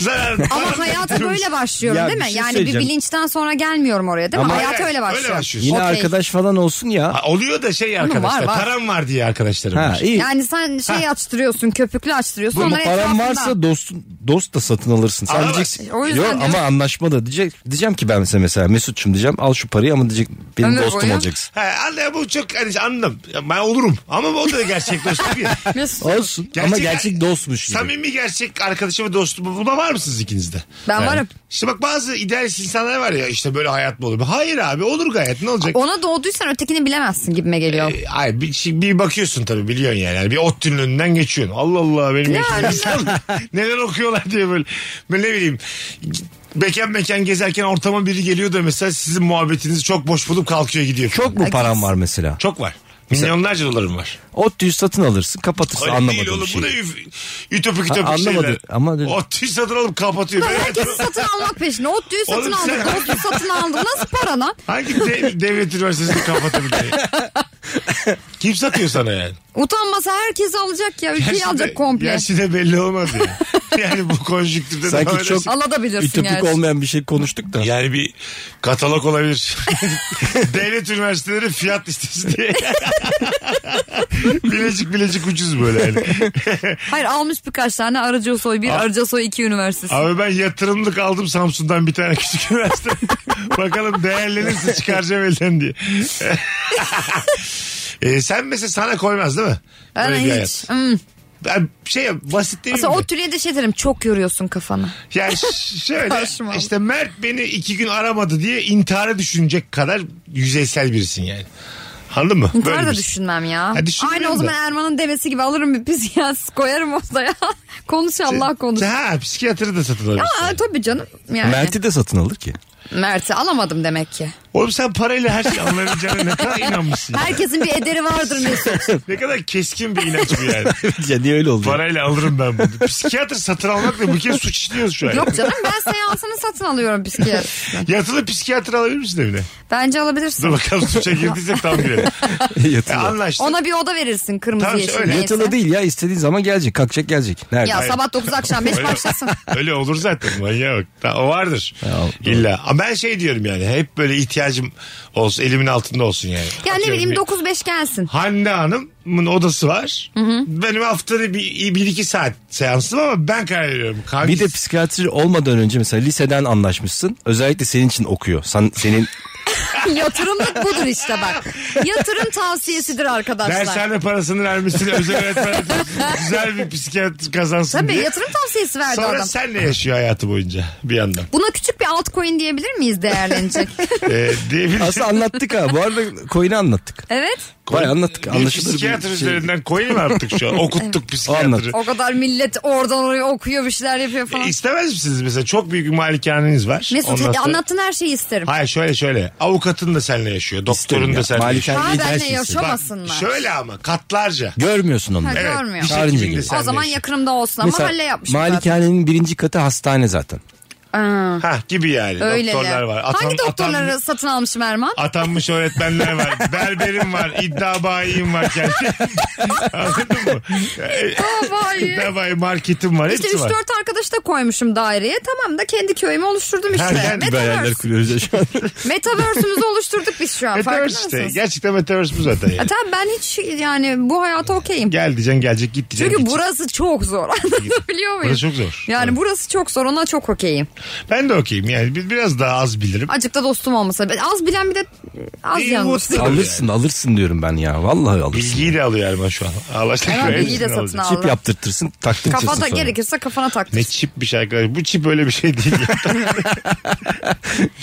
Speaker 1: Zarar.
Speaker 3: Ama hayata böyle başlıyorum
Speaker 2: Ya
Speaker 3: değil
Speaker 2: bir
Speaker 3: mi?
Speaker 2: şey
Speaker 3: yani bir
Speaker 2: söyleyeceğim.
Speaker 3: bilinçten sonra gelmiyorum oraya değil mi?
Speaker 2: Ama-
Speaker 3: hayata
Speaker 1: Hayır,
Speaker 3: öyle
Speaker 1: öyle
Speaker 3: başlıyorum.
Speaker 1: başlıyorsun.
Speaker 2: Yine
Speaker 3: Okey.
Speaker 2: arkadaş falan olsun ya.
Speaker 1: Ha, oluyor da şey arkadaşlar.
Speaker 3: var, var.
Speaker 1: Param var diye arkadaşlarım
Speaker 2: Ha
Speaker 1: var.
Speaker 2: iyi.
Speaker 3: Yani sen şey açtırıyorsun, köpüklü açtırıyorsun.
Speaker 2: Ama
Speaker 3: onların
Speaker 2: paran
Speaker 3: etrafında.
Speaker 2: varsa dostun dost da satın alırsın. Sen
Speaker 1: Alamaz.
Speaker 2: diyeceksin.
Speaker 3: O yüzden
Speaker 2: Yok
Speaker 3: diyorum.
Speaker 2: ama anlaşma da diyecek. Diyeceğim ki ben mesela mesela Mesut'cum diyeceğim al şu parayı ama diyecek benim
Speaker 3: Ömür
Speaker 2: dostum
Speaker 3: boyu.
Speaker 2: olacaksın.
Speaker 1: Ha, anladım, bu çok hani anladım. Ben olurum. Ama o da gerçek dostum değil.
Speaker 3: Mesut,
Speaker 2: Olsun ama gerçek dostmuş. gibi.
Speaker 1: Samimi gerçek arkadaşım ve dostum buna var mısınız ikinizde?
Speaker 3: Ben varım.
Speaker 1: İşte bak bazı idealist insanlar var ya işte böyle hayat mı olur? Hayır abi olur gayet ne olacak?
Speaker 3: ona doğduysan ötekini bilemezsin gibime geliyor.
Speaker 1: E, Ay bir, şey- bir bakıyorsun tabii biliyorsun yani. Yani bir ot tünün önünden geçiyorsun. Allah Allah benim yaşım insan neler okuyorlar diye böyle. Böyle ne bileyim mekan mekan gezerken ortama biri geliyor da mesela sizin muhabbetinizi çok boş bulup kalkıyor gidiyor.
Speaker 2: Çok mu paran var mesela?
Speaker 1: Çok var. Milyonlarca dolarım var.
Speaker 2: Ottu'yu satın alırsın kapatırsın
Speaker 1: Öyle
Speaker 2: anlamadığın
Speaker 1: değil oğlum.
Speaker 2: şeyi.
Speaker 1: Bu ne üf- ütopik
Speaker 2: Ha,
Speaker 1: ütopik
Speaker 2: anlamadı.
Speaker 1: şeyler.
Speaker 2: Ama dedim-
Speaker 1: Otçuyu satın alıp kapatıyor.
Speaker 3: Herkes satın almak peşinde. Otluyu satın
Speaker 1: Oğlum sen-
Speaker 3: aldık, otluyu satın aldık. Nasıl para lan?
Speaker 1: Hangi de- devlet üniversitesini kapatır diye. Kim satıyor sana yani?
Speaker 3: Utanmasa herkes alacak ya. Ülkeyi
Speaker 1: Gerçi de-
Speaker 3: alacak komple.
Speaker 1: Gerçi de belli olmaz ya. Yani bu konjüktürde
Speaker 2: Sanki
Speaker 1: daha öyle
Speaker 2: çok-
Speaker 1: şey-
Speaker 3: Alabilirsin
Speaker 2: Ütopik
Speaker 3: gerçi.
Speaker 2: olmayan bir şey konuştuk da.
Speaker 1: Yani bir katalog olabilir. Devlet üniversiteleri fiyat listesi diye. bilecik bilecik ucuz böyle yani.
Speaker 3: Hayır almış birkaç tane Arıca Soy 1, Arıca Soy 2 üniversitesi.
Speaker 1: Abi ben yatırımlık aldım Samsun'dan bir tane küçük üniversite. Bakalım değerlenirse çıkaracağım elden diye. E, sen mesela sana koymaz değil mi?
Speaker 3: ben
Speaker 1: Böyle bir
Speaker 3: hiç.
Speaker 1: hayat.
Speaker 3: Hmm.
Speaker 1: Ben şey basit değil
Speaker 3: Mesela
Speaker 1: mi?
Speaker 3: o türlü de şey derim çok yoruyorsun kafanı.
Speaker 1: Yani ş- şöyle
Speaker 3: Karşıma al.
Speaker 1: işte Mert beni iki gün aramadı diye intihara düşünecek kadar yüzeysel birisin yani. Anladın mı? şey.
Speaker 3: İntihar da
Speaker 1: birisin.
Speaker 3: düşünmem ya.
Speaker 1: Ha, düşünmüyorum
Speaker 3: Aynı o zaman
Speaker 1: da.
Speaker 3: Erman'ın devesi gibi alırım bir psikiyatris koyarım odaya.
Speaker 1: Şey,
Speaker 3: konuş Allah konuş.
Speaker 1: E, Ha psikiyatri de satın alabilirsin.
Speaker 3: Aa, tabii canım yani. Mert'i...
Speaker 2: Mert'i de satın alır ki.
Speaker 3: alamadım demek ki.
Speaker 1: Oğlum sen parayla her şeyi alınabileceğine ne kadar inanmışsın. ya.
Speaker 3: Herkesin bir ederi vardır
Speaker 1: Şey.
Speaker 3: Mesut.
Speaker 1: Ne kadar keskin bir inanç bu yani.
Speaker 2: ya niye öyle oldu?
Speaker 1: Parayla alırım ben bunu. Psikiyatr satın almakla bu kez suç işliyoruz şu an.
Speaker 3: Yok canım ben seansını satın alıyorum psikiyatristen.
Speaker 1: Yatılı psikiyatr alabilir misin evine?
Speaker 3: Bence
Speaker 1: Dur
Speaker 3: alabilirsin.
Speaker 1: bakalım suça girdiysek tam girelim. E,
Speaker 2: Yatılı.
Speaker 1: anlaştık.
Speaker 3: Ona bir oda verirsin kırmızı
Speaker 1: Tamam,
Speaker 3: yeşil.
Speaker 1: öyle.
Speaker 3: neyse.
Speaker 2: Yatılı değil ya istediğin zaman gelecek kalkacak gelecek. Nerede?
Speaker 3: Ya
Speaker 2: Hayır.
Speaker 3: sabah 9 akşam 5
Speaker 1: Öyle-
Speaker 3: başlasın.
Speaker 1: Öyle olur zaten manyağa bak. Ta- O vardır.
Speaker 2: doğru.
Speaker 1: İlla. Ama ben şey diyorum yani hep böyle ihtiyacım olsun elimin altında olsun yani.
Speaker 3: Ya ne
Speaker 1: Atıyorum
Speaker 3: bileyim
Speaker 1: bir-
Speaker 3: 9-5 gelsin.
Speaker 1: Hande Hanım'ın odası var. Benim haftada bir, bir iki saat seansım ama ben karar veriyorum. Kanki-
Speaker 2: Bir de psikiyatri olmadan önce mesela liseden anlaşmışsın. Özellikle senin için okuyor. Sen, senin
Speaker 3: Yatırımlık budur işte bak. Yatırım tavsiyesidir arkadaşlar.
Speaker 1: Dershane parasını vermişsin özel öğretmen güzel bir psikiyatr kazansın
Speaker 3: Tabii
Speaker 1: diye.
Speaker 3: yatırım tavsiyesi verdi
Speaker 1: Sonra
Speaker 3: adam.
Speaker 1: senle yaşıyor hayatı boyunca bir yandan.
Speaker 3: Buna küçük bir altcoin diyebilir miyiz değerlenecek?
Speaker 1: Ee, diyebiliriz.
Speaker 2: Aslında anlattık ha. Bu arada coin'i anlattık.
Speaker 3: evet.
Speaker 2: Bayağı anlattık.
Speaker 1: Bir
Speaker 2: Anlaşılır
Speaker 1: psikiyatr
Speaker 2: bir şey.
Speaker 1: üzerinden koyayım artık şu an. Okuttuk psikiyatrı.
Speaker 2: Anladık.
Speaker 3: O kadar millet oradan oraya okuyor bir şeyler yapıyor
Speaker 1: E,
Speaker 3: falan.
Speaker 1: İstemez misiniz mesela? Çok büyük bir malikaneniz var.
Speaker 3: Mesut
Speaker 1: Ondan
Speaker 3: hadi
Speaker 1: sonra-
Speaker 3: anlattığın her şeyi isterim.
Speaker 1: Hayır şöyle şöyle. Avukatın da seninle yaşıyor. Doktorun
Speaker 2: İsterim
Speaker 1: da
Speaker 2: ya.
Speaker 1: seninle yaşıyor.
Speaker 2: Malikane
Speaker 3: Ha,
Speaker 2: değil,
Speaker 3: benle
Speaker 2: dersin sen.
Speaker 3: yaşa- Yapamasınlar.
Speaker 1: şöyle ama katlarca.
Speaker 2: Görmüyorsun onları.
Speaker 3: Ha,
Speaker 1: Evet,
Speaker 3: Görmüyor.
Speaker 1: bir şey
Speaker 3: O
Speaker 2: Çağırınca
Speaker 1: şekilde
Speaker 2: geliyor.
Speaker 1: seninle
Speaker 3: şey o zaman
Speaker 1: yaşıyor.
Speaker 3: yakınımda olsun ama halle yapmışım zaten.
Speaker 2: malikanenin birinci katı hastane zaten.
Speaker 3: Ha,
Speaker 1: Ha gibi yani.
Speaker 3: öyle
Speaker 1: Doktorlar
Speaker 3: de.
Speaker 1: var.
Speaker 3: Hangi
Speaker 1: Atan-
Speaker 3: doktorları
Speaker 1: atan-
Speaker 3: satın almışım Erman?
Speaker 1: Atanmış öğretmenler var. Berberim var. İddia bayiyim var. kendi. Anladın mı?
Speaker 3: Babayı.
Speaker 1: İddia bayi marketim var.
Speaker 3: İşte
Speaker 1: Hepsi var.
Speaker 3: 3-4 arkadaş da koymuşum daireye. Tamam da kendi köyümü oluşturdum işte.
Speaker 1: Ha, yani
Speaker 3: Metaverse.
Speaker 2: kuruyoruz ya şu an.
Speaker 3: Metaverse'ümüzü oluşturduk biz şu an. Farkında
Speaker 1: Metaverse işte.
Speaker 3: mısınız?
Speaker 1: Gerçekten Metaverse bu zaten.
Speaker 3: Ya
Speaker 1: Yani.
Speaker 3: tamam ben hiç yani bu hayata okeyim.
Speaker 1: Gel diyeceksin gelecek git diyeceksin.
Speaker 3: Çünkü
Speaker 1: git.
Speaker 3: burası çok zor. Anlatabiliyor muyum?
Speaker 1: Burası çok zor.
Speaker 3: Yani burası çok zor ona çok okeyim.
Speaker 1: Ben de okeyim yani Bir- biraz daha az bilirim.
Speaker 3: Azıcık da dostum olmasa. Ben az bilen bir de az
Speaker 1: İyi,
Speaker 3: yalnız.
Speaker 1: mutlu.
Speaker 2: alırsın alırsın diyorum ben ya. Vallahi alırsın.
Speaker 1: Bilgiyi de alıyor Erman şu an. Ağlaştık.
Speaker 3: Erman bilgiyi de satın al.
Speaker 2: Çip yaptırtırsın taktırtırsın
Speaker 3: Kafada
Speaker 2: sonra.
Speaker 3: gerekirse kafana
Speaker 1: Ne
Speaker 3: taktır.
Speaker 1: çipmiş arkadaş. Bu çip öyle bir şey değil.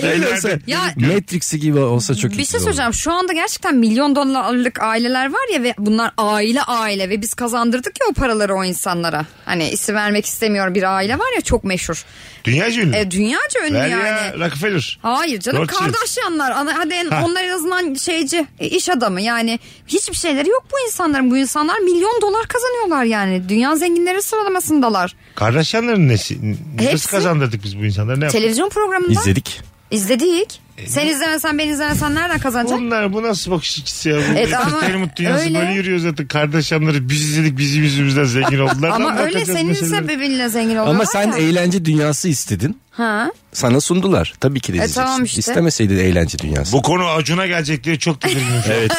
Speaker 2: Öyle olsa
Speaker 3: Ya-
Speaker 2: Matrix'i gibi olsa çok iyi.
Speaker 3: Bir şey söyleyeceğim. Şu anda gerçekten milyon dolarlık aileler var ya ve bunlar aile aile ve biz kazandırdık ya o paraları o insanlara. Hani isim vermek istemiyorum bir aile var ya çok meşhur.
Speaker 1: Dünya ünlü.
Speaker 3: E, dünyaca ünlü
Speaker 1: Ver
Speaker 3: yani.
Speaker 1: ya Rockefeller.
Speaker 3: Hayır canım
Speaker 1: Rothschild.
Speaker 3: Kardashianlar ana- hadi en,
Speaker 1: Ha.
Speaker 3: onlar en azından şeyci e, iş adamı yani hiçbir şeyleri yok bu insanların bu insanlar milyon dolar kazanıyorlar yani dünya zenginleri sıralamasındalar.
Speaker 1: Kardashianların nesi? n- Nasıl
Speaker 3: Hepsi.
Speaker 1: kazandırdık biz bu insanları? Ne yaptık?
Speaker 3: Televizyon programında
Speaker 2: İzledik.
Speaker 3: izledik. Sen izlemesen ben izlemesen nereden kazanacak?
Speaker 1: Bunlar bu nasıl bakış açısı ya? Bu
Speaker 3: Evet ama
Speaker 1: entertainment dünyası
Speaker 3: öyle.
Speaker 1: böyle yürüyor zaten. Kardashianları biz izledik bizim yüzümüzden zengin oldular.
Speaker 3: Ama
Speaker 1: Lan
Speaker 3: öyle
Speaker 1: bakacağız
Speaker 3: senin
Speaker 1: meselelere.
Speaker 3: sebebinle zengin oluyorlar
Speaker 2: Ama sen
Speaker 3: ya.
Speaker 2: eğlence dünyası istedin.
Speaker 3: Ha.
Speaker 2: Sana sundular. Tabii ki de
Speaker 3: E,
Speaker 2: izleyeceksin.
Speaker 3: tamam işte.
Speaker 2: İstemeseydin eğlence dünyası.
Speaker 1: Bu konu Acun'a gelecek diye çok tedirginim.
Speaker 2: evet.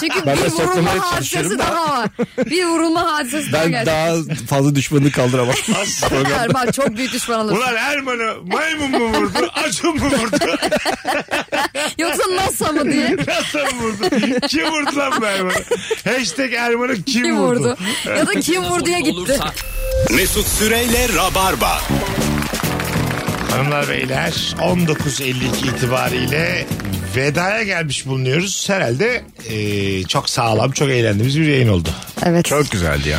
Speaker 3: Çünkü
Speaker 2: Ben de
Speaker 3: bir vurulma
Speaker 2: saklamaya
Speaker 3: hadisesi
Speaker 2: çalışıyorum
Speaker 3: daha var. Bir vurulma hadisesi daha
Speaker 2: ben
Speaker 3: gerçek.
Speaker 2: daha fazla düşmanını kaldıramam.
Speaker 3: Erman çok büyük düşman olur.
Speaker 1: Ulan Erman'ı maymun mu vurdu? Acun mu vurdu?
Speaker 3: Yoksa NASA mı diye.
Speaker 1: Nasıl vurdu? Kim vurdu lan bu Erman'ı? Hashtag Erman'ı kim,
Speaker 3: Kim vurdu?
Speaker 1: vurdu?
Speaker 3: ya da kim vurduya gitti.
Speaker 6: Mesut Süreyle Rabarba.
Speaker 1: Hanımlar beyler 19.52 itibariyle vedaya gelmiş bulunuyoruz. Herhalde e, çok sağlam çok eğlendiğimiz bir yayın oldu.
Speaker 3: Evet.
Speaker 2: güzeldi ya.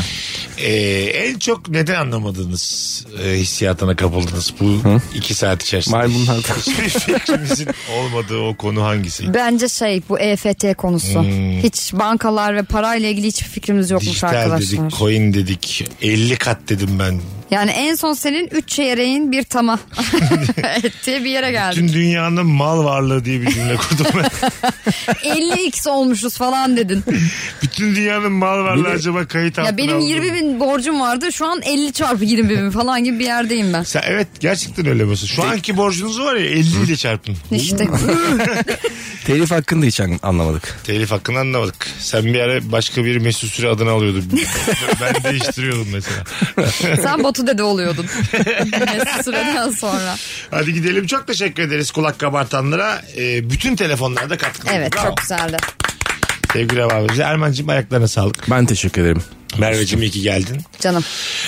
Speaker 1: E, en çok neden anlamadığınız e, hissiyatına kapıldınız bu iki saat içerisinde?
Speaker 2: Maymun halkı.
Speaker 1: Hiçbir fikrimizin olmadığı o konu hangisi?
Speaker 3: Bence şey bu EFT konusu. Hiç bankalar ve parayla ilgili hiçbir fikrimiz yokmuş
Speaker 1: Dijital
Speaker 3: arkadaşlar.
Speaker 1: dedik, coin dedik, 50 kat dedim ben.
Speaker 3: Yani en son senin 3 çeyreğin bir tama ettiği bir yere geldik.
Speaker 1: Tüm dünyanın mal varlığı diye bir cümle kurdum ben.
Speaker 3: 50x olmuşuz falan dedin.
Speaker 1: Bütün dünyanın mal varlığı acaba kayıt altına
Speaker 3: ya benim
Speaker 1: aldı mı?
Speaker 3: 20 bin borcum vardı şu an 50 çarpı 20 bin falan gibi bir yerdeyim ben.
Speaker 1: Sen, evet gerçekten öyle mesela. Şu anki borcunuz var ya 50 ile çarpın.
Speaker 3: İşte
Speaker 2: Telif hakkında hiç an- anlamadık.
Speaker 1: Telif hakkını anlamadık. Sen bir ara başka bir Mesut Süre adını alıyordun. ben değiştiriyordum mesela.
Speaker 3: sen Batu dede oluyordun. Mesut Süre'den sonra.
Speaker 1: Hadi gidelim. Çok teşekkür ederiz kulak kabartanlara. Ee, bütün telefonlarda katkı.
Speaker 3: Evet
Speaker 1: Bravo.
Speaker 3: çok güzeldi.
Speaker 1: Sevgili abimiz Erman'cığım ayaklarına sağlık.
Speaker 2: Ben teşekkür ederim.
Speaker 1: Merveciğim iyi ki geldin.
Speaker 3: Canım.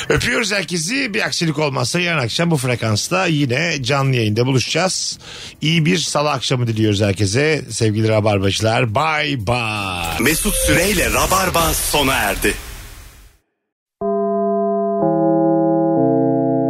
Speaker 1: Öpüyoruz herkesi. Bir aksilik olmazsa yarın akşam bu frekansta yine canlı yayında buluşacağız. İyi bir salı akşamı diliyoruz herkese. Sevgili Rabarbacılar. Bye bye.
Speaker 6: Mesut Süreyle Rabarba sona erdi.